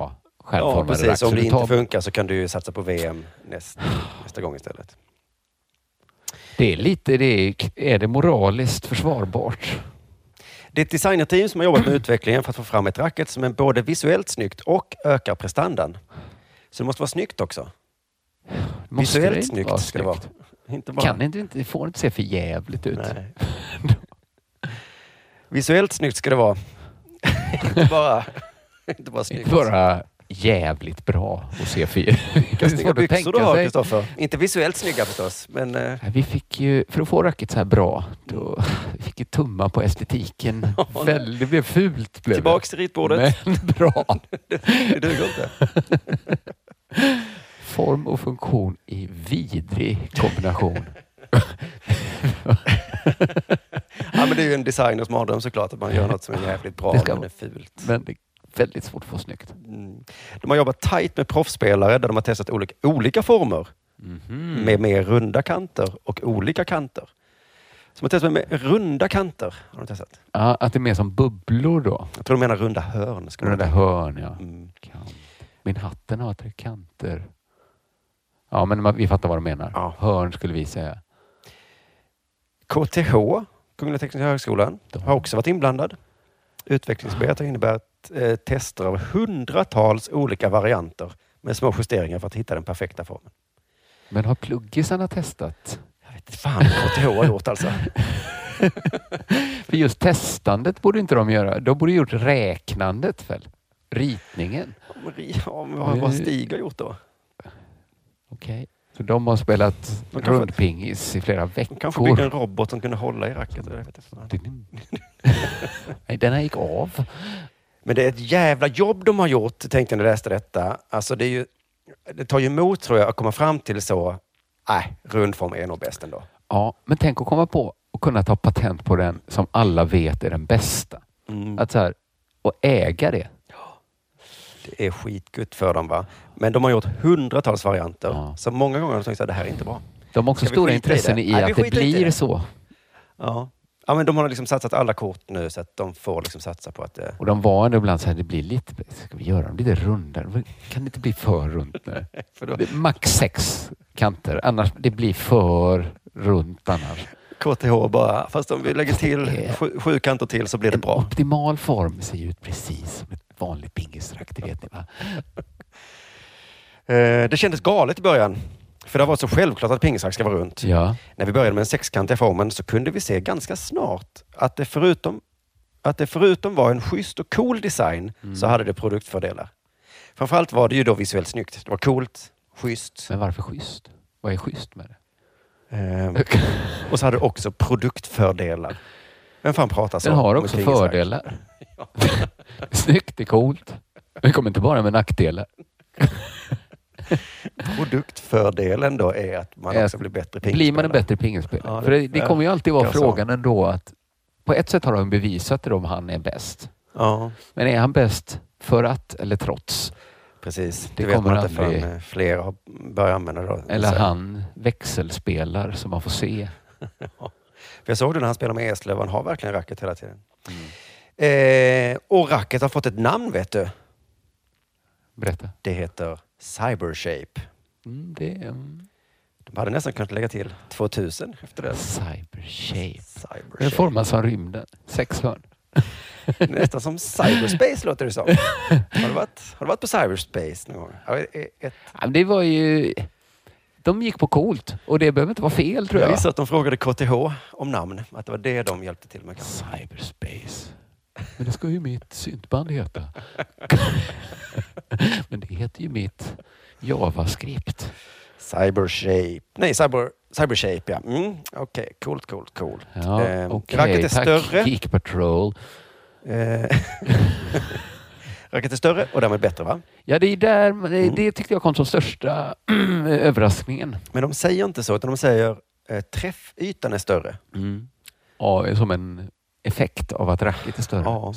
Speaker 6: Ja,
Speaker 7: självformade rack.
Speaker 6: precis.
Speaker 7: Så
Speaker 6: Om det
Speaker 7: du
Speaker 6: inte
Speaker 7: tar-
Speaker 6: funkar så kan du ju satsa på VM näst, nästa gång istället.
Speaker 7: Det är lite, det är, är det moraliskt försvarbart?
Speaker 6: Det är ett designerteam som har jobbat med utvecklingen för att få fram ett racket som är både visuellt snyggt och ökar prestandan. Så det måste vara snyggt också.
Speaker 7: Måste
Speaker 6: visuellt
Speaker 7: det
Speaker 6: snyggt
Speaker 7: vara
Speaker 6: ska det vara.
Speaker 7: snyggt?
Speaker 6: Inte bara.
Speaker 7: Kan det inte, det får inte se för jävligt ut.
Speaker 6: Nej. Visuellt snyggt ska det vara. inte bara, inte bara snyggt.
Speaker 7: Inte bara jävligt bra och se för
Speaker 6: Vilka
Speaker 7: jävligt
Speaker 6: snygga byxor du har
Speaker 7: sig.
Speaker 6: Kristoffer. Inte visuellt snygga förstås, men eh,
Speaker 7: Vi fick ju, för att få racket så här bra, då vi fick ju tumma på estetiken. Väl- Det blev fult. Blev det.
Speaker 6: tillbaks till ritbordet.
Speaker 7: Men bra.
Speaker 6: Det duger inte.
Speaker 7: Form och funktion i vidrig kombination.
Speaker 6: Ja, men det är ju en designers mardröm såklart, att man gör något som är jävligt bra
Speaker 7: Det ska
Speaker 6: men
Speaker 7: vara.
Speaker 6: är fult.
Speaker 7: Men det är väldigt svårt att få snyggt.
Speaker 6: Mm. De har jobbat tajt med proffsspelare där de har testat olika, olika former
Speaker 7: Mhm.
Speaker 6: med mer runda kanter och olika kanter. Som har testat med runda kanter. Har de testat.
Speaker 7: Ja, att det är mer som bubblor då?
Speaker 6: Jag tror de menar runda hörn. skulle
Speaker 7: Runda
Speaker 6: jag
Speaker 7: hörn, ja.
Speaker 6: Mm.
Speaker 7: Kan- Min hatten har tre kanter. Ja, men man, vi fattar vad de menar. Hörn skulle vi säga.
Speaker 6: KTH, Kungliga Tekniska Högskolan, har också varit inblandad. Utvecklingsarbetet har inneburit eh, tester av hundratals olika varianter med små justeringar för att hitta den perfekta formen.
Speaker 7: Men har pluggisarna testat?
Speaker 6: Jag vet inte fan vad KTH har gjort alltså.
Speaker 7: För just testandet borde inte de göra. De borde gjort räknandet väl? Ritningen.
Speaker 6: Ja, men vad har Stig har gjort då?
Speaker 7: Okej. Så de har spelat
Speaker 6: De kanske-
Speaker 7: rundpingis i flera veckor.
Speaker 6: De kanske byggde en robot som kunde hålla i racket. Jag vet inte fan.
Speaker 7: Nej, den här gick av.
Speaker 6: Men det är ett jävla jobb de har gjort, tänkte jag när jag läste detta. Alltså det, är ju, det tar ju emot tror jag att komma fram till så, nej, rundform är nog bäst ändå.
Speaker 7: Ja, men tänk att komma på och kunna ta patent på den som alla vet är den bästa.
Speaker 6: Mm.
Speaker 7: Att så här, och äga det.
Speaker 6: Det är skitgött för dem. va? Men de har gjort hundratals varianter. Så många gånger har de tänkt att det här är inte bra.
Speaker 7: De har också
Speaker 6: Ska vi
Speaker 7: stora
Speaker 6: skita
Speaker 7: intressen i,
Speaker 6: Nej, vi
Speaker 7: att det
Speaker 6: skiter i
Speaker 7: blir så.
Speaker 6: Ja. ja, men de har liksom satsat alla kort nu så att de får liksom satsa på att det...
Speaker 7: Och de var ändå ibland så här, det blir lite, ska vi göra dem lite rundare? Kan det inte bli för runt nu? Det är Max sex kanter, annars det blir för runt annars.
Speaker 6: KTH bara, fast om vi lägger till sju, sju kanter till så blir det bra.
Speaker 7: Optimal form ser ju ut precis som ett vanligt pingisrack, det vet ni va?
Speaker 6: Eh, Det kändes galet i början. För det var så självklart att pingisrack ska vara runt.
Speaker 7: Ja.
Speaker 6: När vi började med den sexkantiga formen så kunde vi se ganska snart att det förutom, att det förutom var en schysst och cool design
Speaker 7: Mm.
Speaker 6: så hade det produktfördelar. Framförallt var det ju då visuellt snyggt. Det var coolt, schysst.
Speaker 7: Men varför schysst? Vad är schysst med det?
Speaker 6: Ehm, och så hade det också produktfördelar. Vem fan pratar så?
Speaker 7: Den har
Speaker 6: om
Speaker 7: också
Speaker 6: ett pingisrack?
Speaker 7: fördelar. Snyggt, det är coolt. Men det kommer inte bara med nackdelar.
Speaker 6: Produktfördelen då är att man
Speaker 7: Är
Speaker 6: också
Speaker 7: att
Speaker 6: blir bättre
Speaker 7: Blir man en
Speaker 6: pingisspelare.
Speaker 7: bättre pingisspelare?
Speaker 6: Ja,
Speaker 7: För det, det kommer ju alltid vara
Speaker 6: jag sa.
Speaker 7: frågan ändå att på ett sätt har de bevisat det om han är bäst.
Speaker 6: Ja.
Speaker 7: Men är han bäst för att eller trots?
Speaker 6: Precis,
Speaker 7: Det
Speaker 6: det, vet
Speaker 7: kommer
Speaker 6: man inte
Speaker 7: aldrig-
Speaker 6: förrän eh, fler har börjat använda det. då.
Speaker 7: Eller
Speaker 6: Så här.
Speaker 7: han växelspelar som man får se.
Speaker 6: För jag såg det när han spelade med Eslöv, han har verkligen racket hela tiden. Eh, och racket har fått ett namn vet du.
Speaker 7: Berätta.
Speaker 6: Det heter Cybershape.
Speaker 7: Mm, det är
Speaker 6: De hade nästan kunnat lägga till 2000 efter det.
Speaker 7: Cybershape. Den
Speaker 6: Cybershape.
Speaker 7: formas som rymden. Sex hörn.
Speaker 6: Nästan som cyberspace låter det som. Har du varit, har du varit på cyberspace någon gång? Ja, ett- ett-
Speaker 7: Ja, men Det var ju... De gick på coolt och det behöver inte vara fel tror
Speaker 6: Jag
Speaker 7: jag.
Speaker 6: gissar att de frågade KTH om namn, att det var det de hjälpte till med. kanske.
Speaker 7: Cyberspace. Men det ska ju mitt syntband heta. Men det heter ju mitt Javascript.
Speaker 6: Cybershape. Nej, cyber, cybershape ja. Mm, Okej, coolt, coolt, coolt.
Speaker 7: Ja,
Speaker 6: Eh,
Speaker 7: okej.
Speaker 6: Racket är
Speaker 7: Tack,
Speaker 6: större.
Speaker 7: Geek Patrol.
Speaker 6: Eh, racket är större och därmed bättre va?
Speaker 7: Ja, det är där, men
Speaker 6: Mm.
Speaker 7: det, det tyckte jag kom som största överraskningen.
Speaker 6: Men de säger inte så, utan de säger eh, träffytan är större. Mm.
Speaker 7: Ja, som en effekt av att racket är större.
Speaker 6: Ja.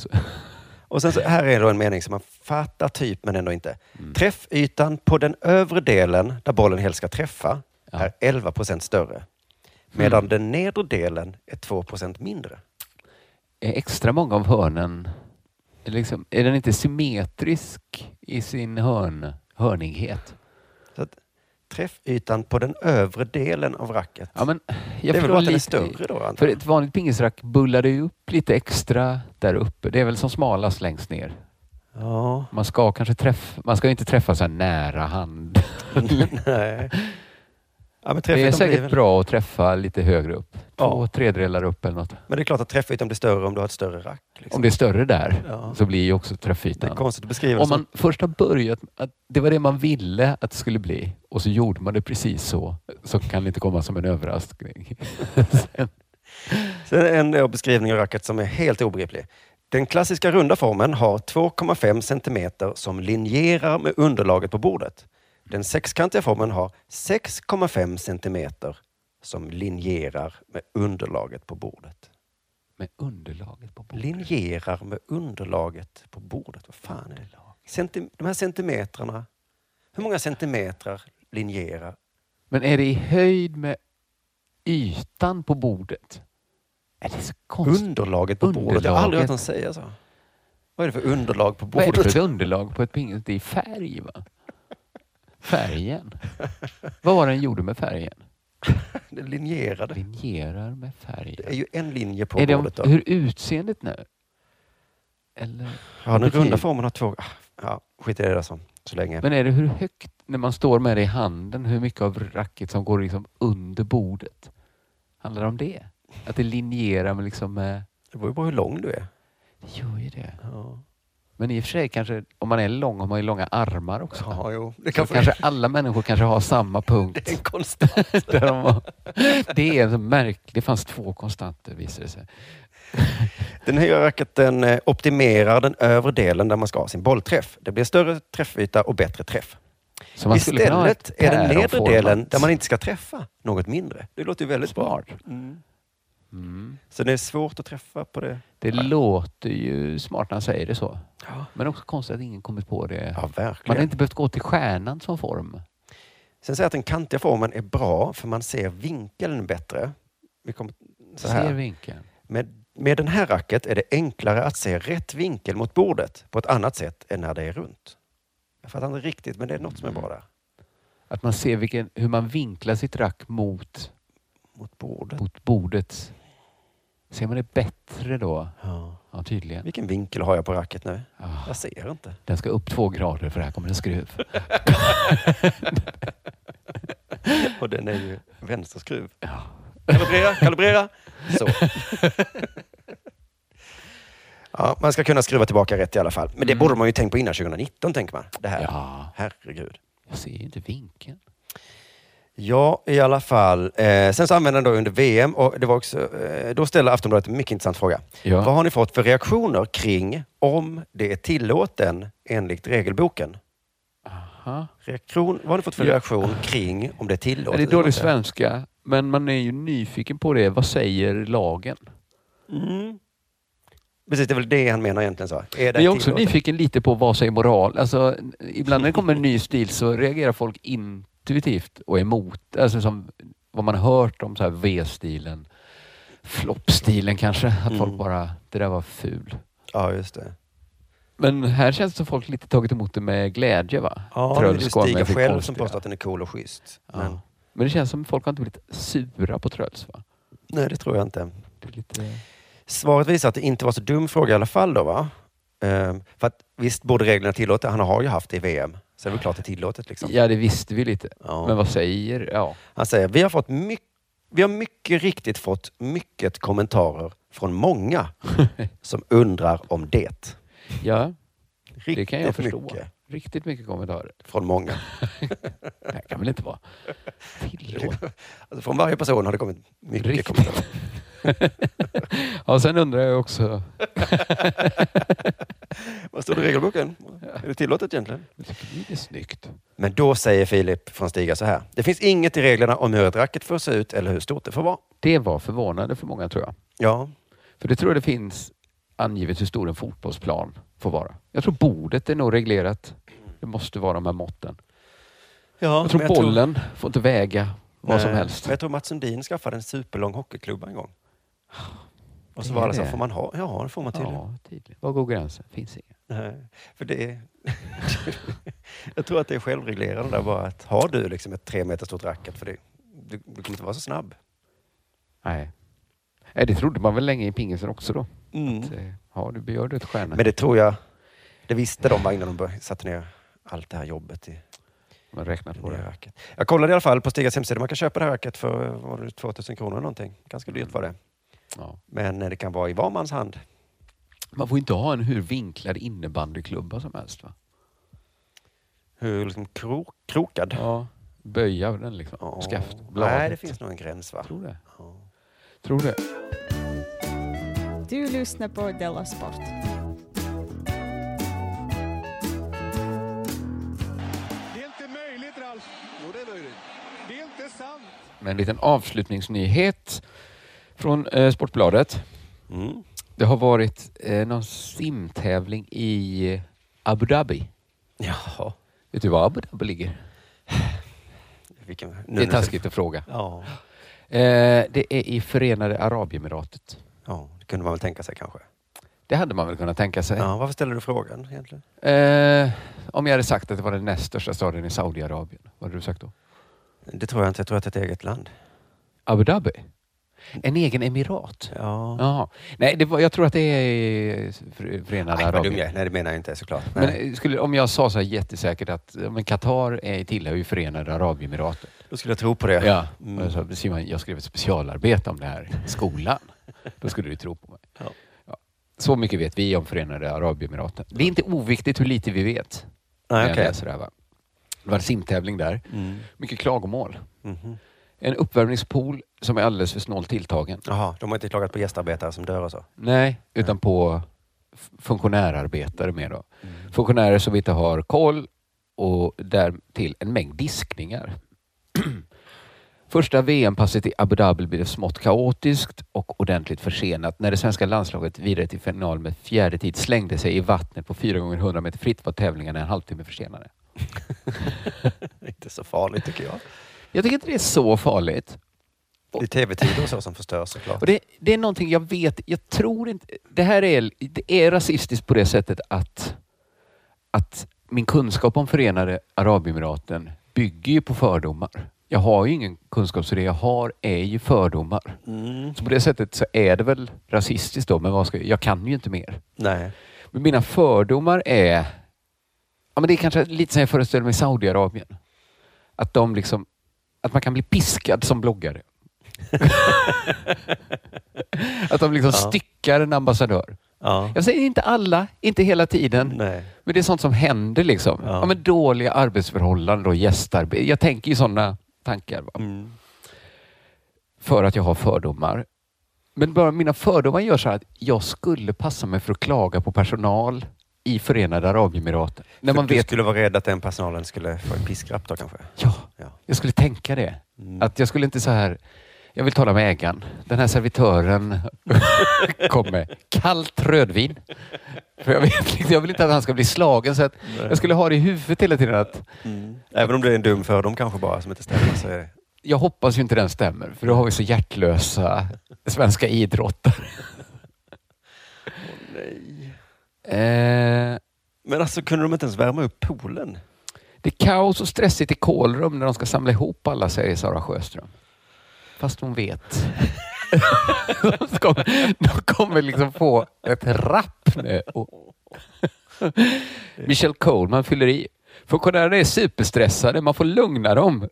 Speaker 6: Och sen så, här är då en mening som man fattar typ, men ändå inte.
Speaker 7: Mm.
Speaker 6: Träffytan på den övre delen, där bollen helst ska träffa, är 11 procent större. Medan
Speaker 7: Mm.
Speaker 6: den nedre delen är 2 procent mindre.
Speaker 7: Är extra många av hörnen, liksom, är den inte symmetrisk i sin hörn, hörnighet?
Speaker 6: Så att, träffytan på den övre delen av racket.
Speaker 7: Ja, men
Speaker 6: det är väl
Speaker 7: förstår
Speaker 6: bara att den är
Speaker 7: lite-
Speaker 6: större då? antar
Speaker 7: För
Speaker 6: jag.
Speaker 7: ett vanligt pingisrack bullar det ju upp lite extra där uppe. Det är väl som smalast längst ner.
Speaker 6: Ja.
Speaker 7: Man ska kanske träffa, man ska ju inte träffa så här nära hand.
Speaker 6: Nej. Ja, men
Speaker 7: det är
Speaker 6: träffytan blir
Speaker 7: säkert
Speaker 6: väl-
Speaker 7: bra att träffa lite högre upp.
Speaker 6: Ja.
Speaker 7: Två tredjedelar upp eller något.
Speaker 6: Men det är klart att träffytan blir större om du har ett större rack. liksom.
Speaker 7: Om det är större där
Speaker 6: Ja.
Speaker 7: så blir ju också
Speaker 6: Det är
Speaker 7: träffytan.
Speaker 6: konstigt att beskriva det
Speaker 7: Om man först har börjat, att det var det man ville att det skulle bli och så gjorde man det precis så, så kan det inte komma som en överraskning.
Speaker 6: Sen en eh, beskrivning av racket som är helt obegriplig. Den klassiska runda formen har 2,5 centimeter som linjerar med underlaget på bordet. Den sexkantiga formen har 6,5 centimeter som linjerar med underlaget på bordet.
Speaker 7: Med underlaget på bordet?
Speaker 6: Linjerar med underlaget på bordet. Vad fan är det? Centim- de här centimetrarna. Hur många centimetrar linjerar?
Speaker 7: Men är det i höjd med ytan på bordet? Är det så konstigt?
Speaker 6: Underlaget på bordet. Jag har aldrig hört någon säga så. Vad är det för underlag på
Speaker 7: Vad är det för
Speaker 6: bordet?
Speaker 7: ett underlag på ett pingisbord? Det är färg va? Färgen. Vad var det den gjorde med färgen?
Speaker 6: Den linjerade.
Speaker 7: Linjerar med färgen.
Speaker 6: Det är ju en linje på
Speaker 7: är det om-
Speaker 6: bordet. Då.
Speaker 7: hur utseendet nu? Eller?
Speaker 6: Ja, den
Speaker 7: Okej.
Speaker 6: runda formen har två... Ah, Ja, skit i det där så, så länge.
Speaker 7: Men är det hur högt, när man står med det i handen, hur mycket av racket som går liksom under bordet? Handlar det om det? Att det linjerar med liksom... eh,
Speaker 6: Det beror ju på hur lång du är.
Speaker 7: Det gör ju det. Men i och för sig kanske, om man är lång har man ju långa armar också.
Speaker 6: Ja, jo. Det
Speaker 7: Så
Speaker 6: kanske-
Speaker 7: kanske... alla människor kanske har samma punkt.
Speaker 6: Det är en konstant.
Speaker 7: Där de har... Det är så märkligt. Det fanns två konstanter visade det sig.
Speaker 6: Den högra racketen eh, optimerar den övre delen där man ska ha sin bollträff. Det blir större träffyta och bättre träff.
Speaker 7: Så man skulle kunna ha ett
Speaker 6: Istället är den nedre
Speaker 7: päronformat-
Speaker 6: delen där man inte ska träffa något mindre. Det låter ju väldigt bra.
Speaker 7: Mm.
Speaker 6: Så det är svårt att träffa på det.
Speaker 7: Det låter ju smart när han säger det så.
Speaker 6: Ja.
Speaker 7: Men också konstigt att ingen kommit på det.
Speaker 6: Ja,
Speaker 7: Man
Speaker 6: verkligen.
Speaker 7: har inte behövt gå till stjärnan som form.
Speaker 6: Sen säger jag att den kantiga formen är bra för man ser vinkeln bättre. Vi kommer så här.
Speaker 7: Ser vinkeln.
Speaker 6: Med, med den här racket är det enklare att se rätt vinkel mot bordet på ett annat sätt än när det är runt. Jag fattar inte riktigt, men det är något som är bra där.
Speaker 7: Att man ser vilken, hur man vinklar sitt rack mot,
Speaker 6: mot, bordet.
Speaker 7: mot bordet. Ser man det bättre då?
Speaker 6: Ja.
Speaker 7: tydligen.
Speaker 6: Vilken vinkel har jag på racket nu? Jag ser inte.
Speaker 7: Den ska upp två grader för här kommer en skruv.
Speaker 6: Och den är ju vänsterskruv. Kalibrera, kalibrera. Så. Ja, man ska kunna skruva tillbaka rätt i alla fall. Men det borde man ju tänkt på innan 2019, tänker man. Det här. Herregud.
Speaker 7: Jag ser ju inte vinkeln.
Speaker 6: Ja, i alla fall. Eh, sen så använde han då under VM och det var också, eh, då ställde Aftonbladet en mycket intressant fråga.
Speaker 7: Ja.
Speaker 6: Vad har ni fått för reaktioner kring om det är tillåten enligt regelboken?
Speaker 7: Aha.
Speaker 6: Reaktion, vad har ni fått för
Speaker 7: Ja.
Speaker 6: reaktion kring om det är tillåtet? Mm.
Speaker 7: det är
Speaker 6: eller
Speaker 7: dålig
Speaker 6: inte?
Speaker 7: svenska, men man är ju nyfiken på det. Vad säger lagen?
Speaker 6: Mm. Precis, det är väl det han menar egentligen. Så. Är det
Speaker 7: Men jag är också
Speaker 6: tillåtet?
Speaker 7: nyfiken lite på vad säger moral? Alltså, ibland när det kommer en ny stil så reagerar folk intuitivt och emot. Alltså som vad man har hört om så här V-stilen, floppstilen kanske. Att
Speaker 6: Mm.
Speaker 7: folk bara, det där var ful.
Speaker 6: Ja, just det.
Speaker 7: Men här känns det som folk lite tagit emot det med glädje va?
Speaker 6: Ja, nu är det
Speaker 7: Trölls
Speaker 6: Stiga
Speaker 7: med sin
Speaker 6: själv som
Speaker 7: konstiga.
Speaker 6: påstår att den är cool och schysst.
Speaker 7: Ja.
Speaker 6: Men,
Speaker 7: Men det känns som folk har inte blivit sura på Tröls va?
Speaker 6: nej, det tror jag inte.
Speaker 7: Det är lite...
Speaker 6: Svaret visar att det inte var så dum fråga i alla fall. Då, va? Ehm, för att visst borde reglerna tillåta, han har ju haft det i VM. Så det är väl klart det är tillåtet. Liksom.
Speaker 7: Ja, det visste vi lite.
Speaker 6: Ja.
Speaker 7: Men vad säger... Ja.
Speaker 6: Han säger, vi har, fått mycket, vi har mycket riktigt fått mycket kommentarer från många som undrar om det.
Speaker 7: Ja,
Speaker 6: Riktigt
Speaker 7: det kan jag förstå.
Speaker 6: mycket
Speaker 7: Riktigt mycket kommentarer.
Speaker 6: från många.
Speaker 7: Det här kan väl inte vara tillåtet?
Speaker 6: Alltså, från varje person har det kommit mycket
Speaker 7: Riktigt.
Speaker 6: kommentarer.
Speaker 7: Ja, sen undrar jag också...
Speaker 6: Vad står det i regelboken? Är det tillåtet egentligen?
Speaker 7: Jag tycker Det är snyggt.
Speaker 6: Men då säger Filip från Stiga så här. Det finns inget i reglerna om hur ett racket får se ut eller hur stort det får vara.
Speaker 7: Det var förvånande för många tror jag.
Speaker 6: Ja,
Speaker 7: För det tror jag det finns angivet hur stor en fotbollsplan får vara. Jag tror bordet är nog reglerat. Det måste vara de här måtten.
Speaker 6: ja
Speaker 7: jag tror
Speaker 6: men
Speaker 7: bollen får inte väga vad som
Speaker 6: Nej,
Speaker 7: helst.
Speaker 6: Men jag tror Mats Sundin skaffade en superlång hockeyklubba en gång.
Speaker 7: Ah,
Speaker 6: Och så
Speaker 7: Det är
Speaker 6: var det så,
Speaker 7: det.
Speaker 6: får man ha? Ja, det får man tydligen.
Speaker 7: Ja, tydligen. Var går gränsen? Finns inga.
Speaker 6: Nej, för det är... jag tror att det är självreglerande där bara att har du liksom ett tre meter stort racket, för det, du, du kan inte vara så snabb.
Speaker 7: Nej. Nej, det trodde man väl länge i pingisen också då.
Speaker 6: Mm.
Speaker 7: Att, eh, ja, du gör du ett stjärna.
Speaker 6: Men det tror jag, det visste de va, innan de började- satte ner allt det här jobbet i
Speaker 7: Man räknar på
Speaker 6: det nya
Speaker 7: det.
Speaker 6: racket. Jag kollade i alla fall på Stigas hemsida, man kan köpa det här racket för var det, 2000 kronor eller någonting. Ganska dyrt var det.
Speaker 7: Mm. Ja.
Speaker 6: Men eh, det kan vara i var mans hand.
Speaker 7: Man får inte ha en hur vinklad innebandyklubba som helst va?
Speaker 6: Hur liksom kro, krokad.
Speaker 7: Ja. Böja den liksom.
Speaker 6: Ja.
Speaker 7: Skaft, bladet.
Speaker 6: Nej, det finns nog en gräns va?
Speaker 7: Tror det.
Speaker 6: Ja.
Speaker 7: Tror det.
Speaker 15: Du lyssnar på Della Sport.
Speaker 16: Det är inte möjligt, Ralf. Jo, det är möjligt. Det är inte sant.
Speaker 7: Med en liten avslutningsnyhet från eh, Sportbladet.
Speaker 6: Mm.
Speaker 7: Det har varit eh, någon simtävling i Abu Dhabi.
Speaker 6: Jaha.
Speaker 7: Vet du var Abu Dhabi ligger?
Speaker 6: Vilken, nu
Speaker 7: Det är
Speaker 6: när-
Speaker 7: taskigt att fråga.
Speaker 6: Ja.
Speaker 7: Eh, det är i Förenade Arabemiratet.
Speaker 6: Ja, det kunde man väl tänka sig kanske.
Speaker 7: Det hade man väl kunnat tänka sig.
Speaker 6: Ja, varför ställer du frågan egentligen?
Speaker 7: Eh, om jag hade sagt att det var den näst största staden i Saudiarabien, vad hade du sagt då?
Speaker 6: Det tror jag inte. Jag tror att det är ett eget land.
Speaker 7: Abu Dhabi? En egen emirat?
Speaker 6: Ja.
Speaker 7: Jaha. Nej, det var, jag tror att det är Fre- Förenade
Speaker 6: Nej, vad dum jag
Speaker 7: Arabemiraten.
Speaker 6: är. Nej, det menar jag inte såklart. Nej.
Speaker 7: Men eh, skulle, om jag sa så här jättesäkert att eh, men Qatar är, tillhör ju Förenade Arabemiraten.
Speaker 6: Då skulle jag tro på det.
Speaker 7: Ja.
Speaker 6: Mm.
Speaker 7: Och jag sa, Simon, jag skrev ett specialarbete om det här i skolan. Då skulle du tro på mig.
Speaker 6: Ja.
Speaker 7: Ja. Så mycket vet vi om Förenade Arabemiraten. Det är inte oviktigt hur lite vi vet. när
Speaker 6: Nej,
Speaker 7: jag
Speaker 6: okej.
Speaker 7: läser det här, va? Det var en simtävling där.
Speaker 6: Mm.
Speaker 7: Mycket klagomål.
Speaker 6: Mhm.
Speaker 7: En uppvärmningspool som är alldeles för snålt tilltagen.
Speaker 6: Jaha, de har inte klagat på gästarbetare som dör och så?
Speaker 7: Nej, utan på f- funktionärarbetare mer då.
Speaker 6: Mm.
Speaker 7: Funktionärer som inte har koll och därtill en mängd diskningar. Första VM-passet i Abu Dhabi blev smått kaotiskt och ordentligt försenat när det svenska landslaget vidare till final med fjärde tid slängde sig i vattnet på 4 gånger 100 meter fritt var tävlingarna en halvtimme försenade.
Speaker 6: inte så farligt tycker jag.
Speaker 7: Jag tycker inte det är så farligt.
Speaker 6: Det är tv-tider och så som förstörs såklart.
Speaker 7: Och det, det är någonting jag vet, jag tror inte... Det här är, det är rasistiskt på det sättet att, att min kunskap om Förenade Arabemiraten bygger ju på fördomar. Jag har ju ingen kunskap så det jag har är ju fördomar.
Speaker 6: Mm.
Speaker 7: Så på det sättet så är det väl rasistiskt då, men vad ska jag, jag kan ju inte mer.
Speaker 6: Nej.
Speaker 7: Men mina fördomar är... Ja, men det är kanske lite som jag föreställer mig Saudiarabien. Att de liksom... Att man kan bli piskad som bloggare. att de liksom
Speaker 6: Ja.
Speaker 7: styckar en ambassadör.
Speaker 6: Ja.
Speaker 7: Jag säger inte alla, inte hela tiden.
Speaker 6: Nej.
Speaker 7: Men det är sånt som händer liksom. Ja. men dåliga arbetsförhållanden och gästarbete. Jag tänker ju sådana tankar. Va?
Speaker 6: Mm.
Speaker 7: För att jag har fördomar. Men bara mina fördomar gör så här att jag skulle passa mig för att klaga på personal i Förenade Arabemiraten. När
Speaker 6: För
Speaker 7: man
Speaker 6: du
Speaker 7: vet,
Speaker 6: skulle vara rädd att den personalen skulle få en piskrapp då kanske?
Speaker 7: ja, jag skulle tänka det.
Speaker 6: Mm.
Speaker 7: Att jag skulle inte så här, jag vill tala med ägaren. Den här servitören kom med kallt rödvin. För jag, vet, liksom, jag vill inte att han ska bli slagen. Så att jag skulle ha det i huvudet hela tiden att
Speaker 6: Mm. Även om det är en dum fördom kanske bara som inte stämmer så är det...
Speaker 7: jag hoppas ju inte den stämmer, för då har vi så hjärtlösa svenska idrottare. Eh,
Speaker 6: Men alltså kunde de inte ens värma upp poolen?
Speaker 7: det är kaos och stressigt i kolrum när de ska samla ihop alla, säger Sara Sjöström. Fast hon vet. de, kommer, de kommer liksom få ett rapp nu. Och Michelle Coleman fyller i. Funktionärerna är superstressade. Man får lugna dem.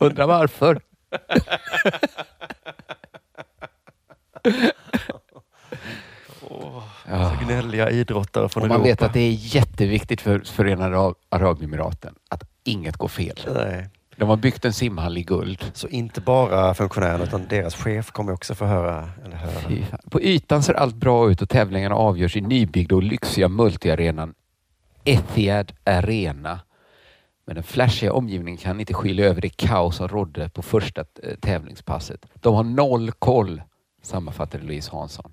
Speaker 7: Undrar varför.
Speaker 6: Så Alltså, gnälliga idrottare från
Speaker 7: Och man vet
Speaker 6: Europa.
Speaker 7: att det är jätteviktigt för Förenade Ara- Arabemiraten att inget går fel.
Speaker 6: Nej.
Speaker 7: De har byggt en simhall i guld.
Speaker 6: Så inte bara funktionärerna utan deras chef kommer också få höra, eller höra.
Speaker 7: Fy fan. På ytan ser allt bra ut och tävlingarna avgörs i nybyggda och lyxiga multiarenan Etihad Arena. Men den flashiga omgivningen kan inte skilja över det kaos som rådde på första eh, tävlingspasset. De har noll koll, sammanfattade Louise Hansson.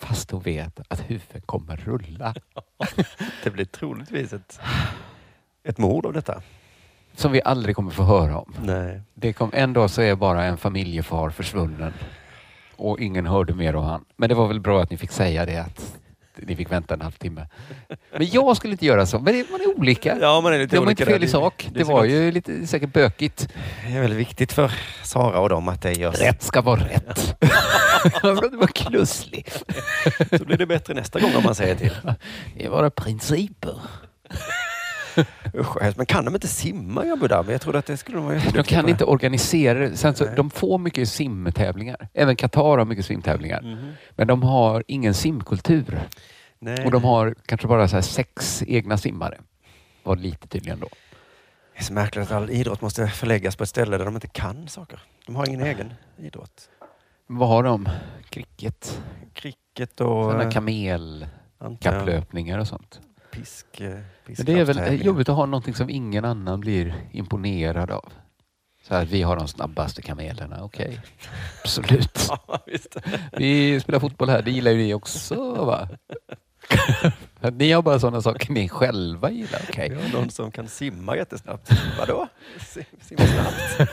Speaker 7: Fast hon vet att huvudet kommer rulla.
Speaker 6: Det blir troligtvis ett, ett mord av detta.
Speaker 7: Som vi aldrig kommer få höra om.
Speaker 6: Nej.
Speaker 7: Det kom en dag så är bara en familjefar försvunnen och ingen hörde mer om han. Men det var väl bra att ni fick säga det att ni fick vänta en halvtimme. Men jag skulle inte göra så. Men det- man är olika.
Speaker 6: Ja, man är lite
Speaker 7: De var
Speaker 6: olika
Speaker 7: inte fel
Speaker 6: där.
Speaker 7: i sak.
Speaker 6: Det är
Speaker 7: Det
Speaker 6: så
Speaker 7: var
Speaker 6: gott.
Speaker 7: ju lite säkert bökigt.
Speaker 6: Det är väldigt viktigt för Sara och dem att det görs.
Speaker 7: Rätt ska vara rätt. det var klusslig.
Speaker 6: Så blir det bättre nästa gång om man säger till.
Speaker 7: Det var det principer.
Speaker 6: Usch, vad hemskt. men kan de inte simma i Abu Dhabi? Jag trodde att det skulle de vara
Speaker 7: De
Speaker 6: jätteduktiga
Speaker 7: kan
Speaker 6: på.
Speaker 7: inte organisera det. Sen så,
Speaker 6: Nej.
Speaker 7: de får mycket simtävlingar. Även Qatar har mycket simtävlingar.
Speaker 6: Mhm.
Speaker 7: Men de har ingen simkultur.
Speaker 6: Nej.
Speaker 7: Och de har kanske bara så här sex egna simmare. Var lite tydligen då.
Speaker 6: Det är så märkligt att all idrott måste förläggas på ett ställe där de inte kan saker. De har ingen egen idrott.
Speaker 7: Men Vad har de? Cricket?
Speaker 6: Cricket och
Speaker 7: Sådana
Speaker 6: eh, antar jag,
Speaker 7: kamelkapplöpningar och sånt.
Speaker 6: pisk, eh,
Speaker 7: Men det är väl eh,
Speaker 6: pisklappstävlingar.
Speaker 7: jobbigt att ha någonting som ingen annan blir imponerad av. Så här, vi har de snabbaste kamelerna, okej. Absolut.
Speaker 6: Ja, visst.
Speaker 7: Vi spelar fotboll här, det gillar ju ni också va? Ni har bara sådana saker ni själva gillar. Okej.
Speaker 6: Vi har någon som kan simma jättesnabbt. Vadå? Sim, simma snabbt?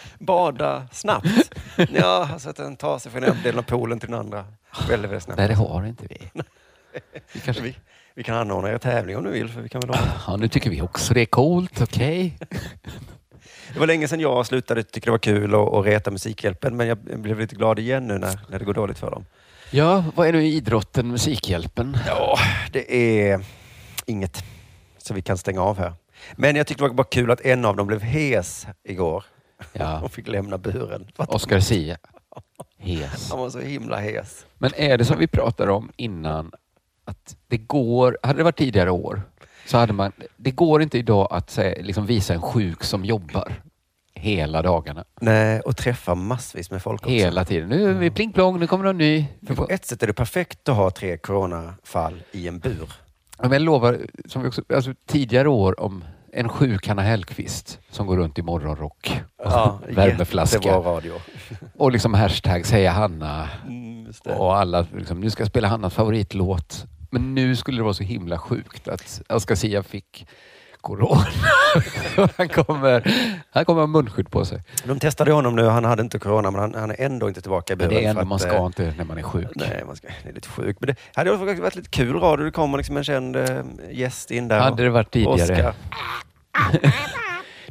Speaker 6: Bada snabbt? Ja, alltså att den tar sig från ena delen av poolen till den andra. Väldigt, väldigt snabbt.
Speaker 7: Nej, det har inte vi.
Speaker 6: Vi, vi, vi kan anordna er tävling om du vill. För vi kan väl ordna-
Speaker 7: Ja, nu tycker vi också det är coolt. Okej.
Speaker 6: det var länge sedan jag slutade tycka det var kul att, att reta Musikhjälpen, men jag blev lite glad igen nu när, när det går dåligt för dem.
Speaker 7: Ja, vad är nu idrotten, Musikhjälpen?
Speaker 6: Ja, det är inget så vi kan stänga av här. Men jag tyckte det var bara kul att en av dem blev hes igår.
Speaker 7: Ja.
Speaker 6: Hon fick lämna buren. För att
Speaker 7: Oscar Sia. Hes.
Speaker 6: Han var så himla hes.
Speaker 7: Men är det som vi pratade om innan, att det går, hade det varit tidigare år, så hade man, det går inte idag att säga, liksom visa en sjuk som jobbar hela dagarna.
Speaker 6: Nej, och träffa massvis med folk också. Mm.
Speaker 7: Hela tiden. Nu är vi pling plong, nu kommer någon ny.
Speaker 6: För på ett sätt är det perfekt att ha tre coronafall i en bur.
Speaker 7: Ja, Men jag lovar, som vi också, alltså, tidigare år om en sjuk Hanna Hellquist som går runt i morgonrock och
Speaker 6: jättebra
Speaker 7: värmeflaska.
Speaker 6: radio.
Speaker 7: Och liksom hashtag säga Hanna
Speaker 6: Mm, just det.
Speaker 7: och alla liksom, nu ska jag spela Hannas favoritlåt. Men nu skulle det vara så himla sjukt att Oscar Sia fick corona. han, kommer, han kommer ha munskydd på sig.
Speaker 6: De testade honom nu. Han hade inte corona, men han, han är ändå inte tillbaka i
Speaker 7: Men
Speaker 6: buren.
Speaker 7: det är
Speaker 6: för
Speaker 7: ändå,
Speaker 6: att,
Speaker 7: man
Speaker 6: eh,
Speaker 7: ska inte när man är sjuk.
Speaker 6: Nej, man ska, det är lite sjukt. Men det hade ju faktiskt varit lite kul radio. Det kommer liksom en känd eh, gäst in där.
Speaker 7: Hade det varit tidigare.
Speaker 6: Oscar.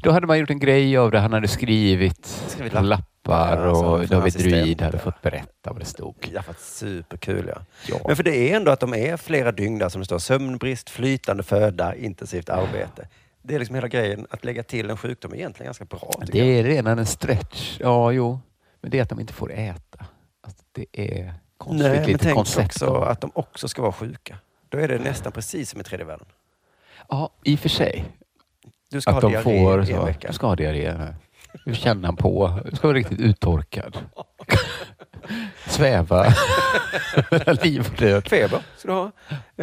Speaker 7: Då hade man gjort en grej av det. Han hade skrivit,
Speaker 6: Skrivit
Speaker 7: på lappar
Speaker 6: Ja, alltså,
Speaker 7: och
Speaker 6: för
Speaker 7: David
Speaker 6: assistent,
Speaker 7: Druid hade fått berätta vad det stod.
Speaker 6: Det hade varit superkul. Ja. Men för det är ändå att de är flera dygn där som det står sömnbrist, flytande föda, intensivt arbete. Det är liksom hela grejen. Att lägga till en sjukdom är egentligen ganska bra. tycker
Speaker 7: Det är redan en stretch. Ja, jo. Men det är att de inte får äta. Alltså, det är konstigt
Speaker 6: Nej, men
Speaker 7: litet
Speaker 6: tänk
Speaker 7: koncept.
Speaker 6: också att de också ska vara sjuka. Då är det nästan precis som i tredje världen.
Speaker 7: Ja, i och för sig.
Speaker 6: Du ska
Speaker 7: att
Speaker 6: ha
Speaker 7: de
Speaker 6: diarré
Speaker 7: får
Speaker 6: i en
Speaker 7: så,
Speaker 6: vecka.
Speaker 7: Du ska ha diarré. nej. Du känner han på. Du ska vara riktigt uttorkad. Sväva mellan liv och död.
Speaker 6: Feber ska du ha.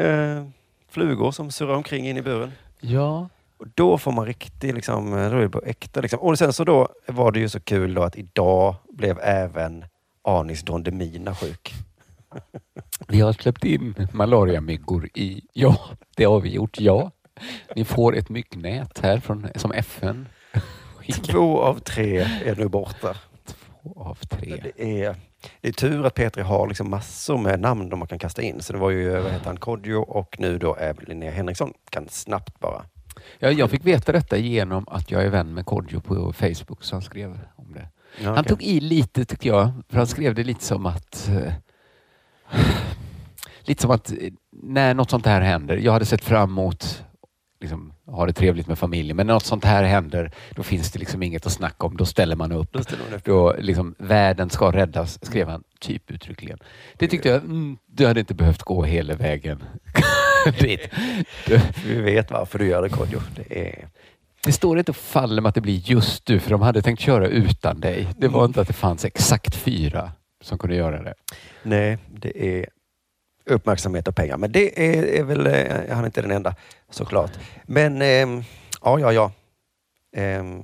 Speaker 6: Eh, flugor som surrar omkring in i buren.
Speaker 7: Ja.
Speaker 6: Och då får man riktigt, liksom, då är det på äkta. Liksom. Och sen så då var det ju så kul då att idag blev även Anis Don Demina sjuk.
Speaker 7: Vi har släppt in malariamyggor i... Ja, det har vi gjort. Ja. Ni får ett myggnät här från, som FN
Speaker 6: Två av tre är nu borta.
Speaker 7: av tre.
Speaker 6: Det är, det är tur att P3 har liksom massor med namn de man kan kasta in. Så det var ju, vad heter han, Kodjo och nu då är Linnea Henriksson. Kan snabbt bara.
Speaker 7: Ja, jag fick veta detta genom att jag är vän med Kodjo på Facebook, så han skrev om det.
Speaker 6: Ja,
Speaker 7: Han
Speaker 6: okej.
Speaker 7: tog i lite, tycker jag, för han skrev det lite som att... Eh, lite som att eh, när något sånt här händer, jag hade sett fram emot liksom, ha det trevligt med familjen, men när något sånt här händer, då finns det liksom inget att snacka om. Då ställer man upp.
Speaker 6: Då ställer man upp.
Speaker 7: Då, liksom, världen ska räddas, skrev han typ uttryckligen. Det tyckte jag, mm, du hade inte behövt gå hela vägen dit.
Speaker 6: Vi vet varför du gör det Kodjo. Det är...
Speaker 7: Det står inte och faller med att det blir just du, för de hade tänkt köra utan dig. Det var inte att det fanns exakt fyra som kunde göra det.
Speaker 6: Nej, det är uppmärksamhet och pengar. Men det är, är väl, eh, han är inte den enda såklart. Men ehm, ja, ja, ja. Ehm,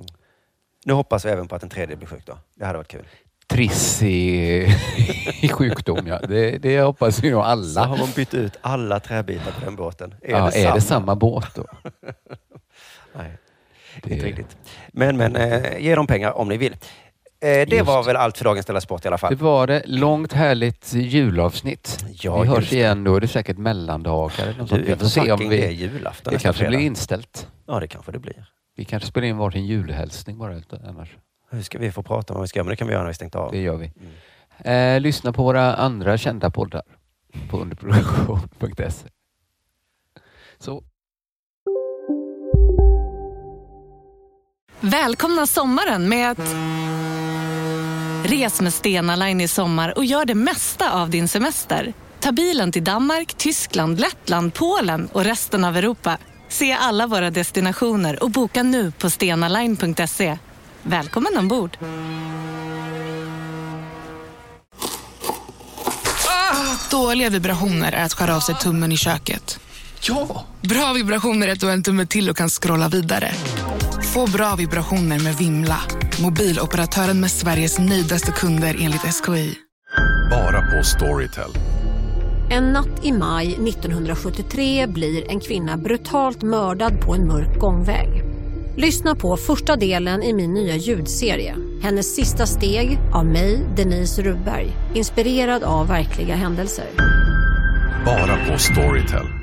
Speaker 6: nu hoppas vi även på att en tredje blir sjuk då. Det hade varit kul.
Speaker 7: Triss i, i sjukdom, ja. Det, det hoppas vi nog
Speaker 6: Så
Speaker 7: alla.
Speaker 6: har man bytt ut alla träbitar på den båten. Är,
Speaker 7: ja,
Speaker 6: det,
Speaker 7: är
Speaker 6: samma?
Speaker 7: det samma båt då?
Speaker 6: Nej,
Speaker 7: Det-
Speaker 6: inte riktigt. Men, men eh, ge dem pengar om ni vill. Eh, det
Speaker 7: Just
Speaker 6: var väl allt för dagens Della Sport i alla fall.
Speaker 7: Det var det. Långt härligt julavsnitt.
Speaker 6: Ja,
Speaker 7: vi
Speaker 6: just
Speaker 7: hörs
Speaker 6: det.
Speaker 7: igen då. Det är säkert mellandagar eller något
Speaker 6: Du,
Speaker 7: sånt. Vi
Speaker 6: jag
Speaker 7: får se om
Speaker 6: fucking det är
Speaker 7: vi...
Speaker 6: julafton
Speaker 7: Det
Speaker 6: nästa
Speaker 7: kanske blir
Speaker 6: fredag.
Speaker 7: inställt.
Speaker 6: Ja, det kanske det blir.
Speaker 7: Vi kanske spelar in varsin julhälsning bara utan- annars.
Speaker 6: Hur ska vi få prata om vad vi ska göra? Men det kan vi göra när vi stängt av.
Speaker 7: Det gör vi.
Speaker 6: Mm.
Speaker 7: Eh, lyssna på våra andra kända poddar på underproduktion.se. Så.
Speaker 11: Välkomna sommaren med att... Res med Stena Line i sommar och gör det mesta av din semester. Ta bilen till Danmark, Tyskland, Lettland, Polen och resten av Europa. Se alla våra destinationer och boka nu på stenaline.se. Välkommen ombord!
Speaker 17: Dåliga vibrationer är att skära av sig tummen i köket. Ja! Bra vibrationer är att du har en tumme till och kan scrolla vidare. Få bra vibrationer med Vimla. Mobiloperatören med Sveriges nöjdaste kunder enligt SKI.
Speaker 18: Bara på Storytel. En natt i maj 1973 blir en kvinna brutalt mördad på en mörk gångväg. Lyssna på första delen i min nya ljudserie. Hennes sista steg av mig, Denise Rubberg. Inspirerad av verkliga händelser.
Speaker 4: Bara på Storytel.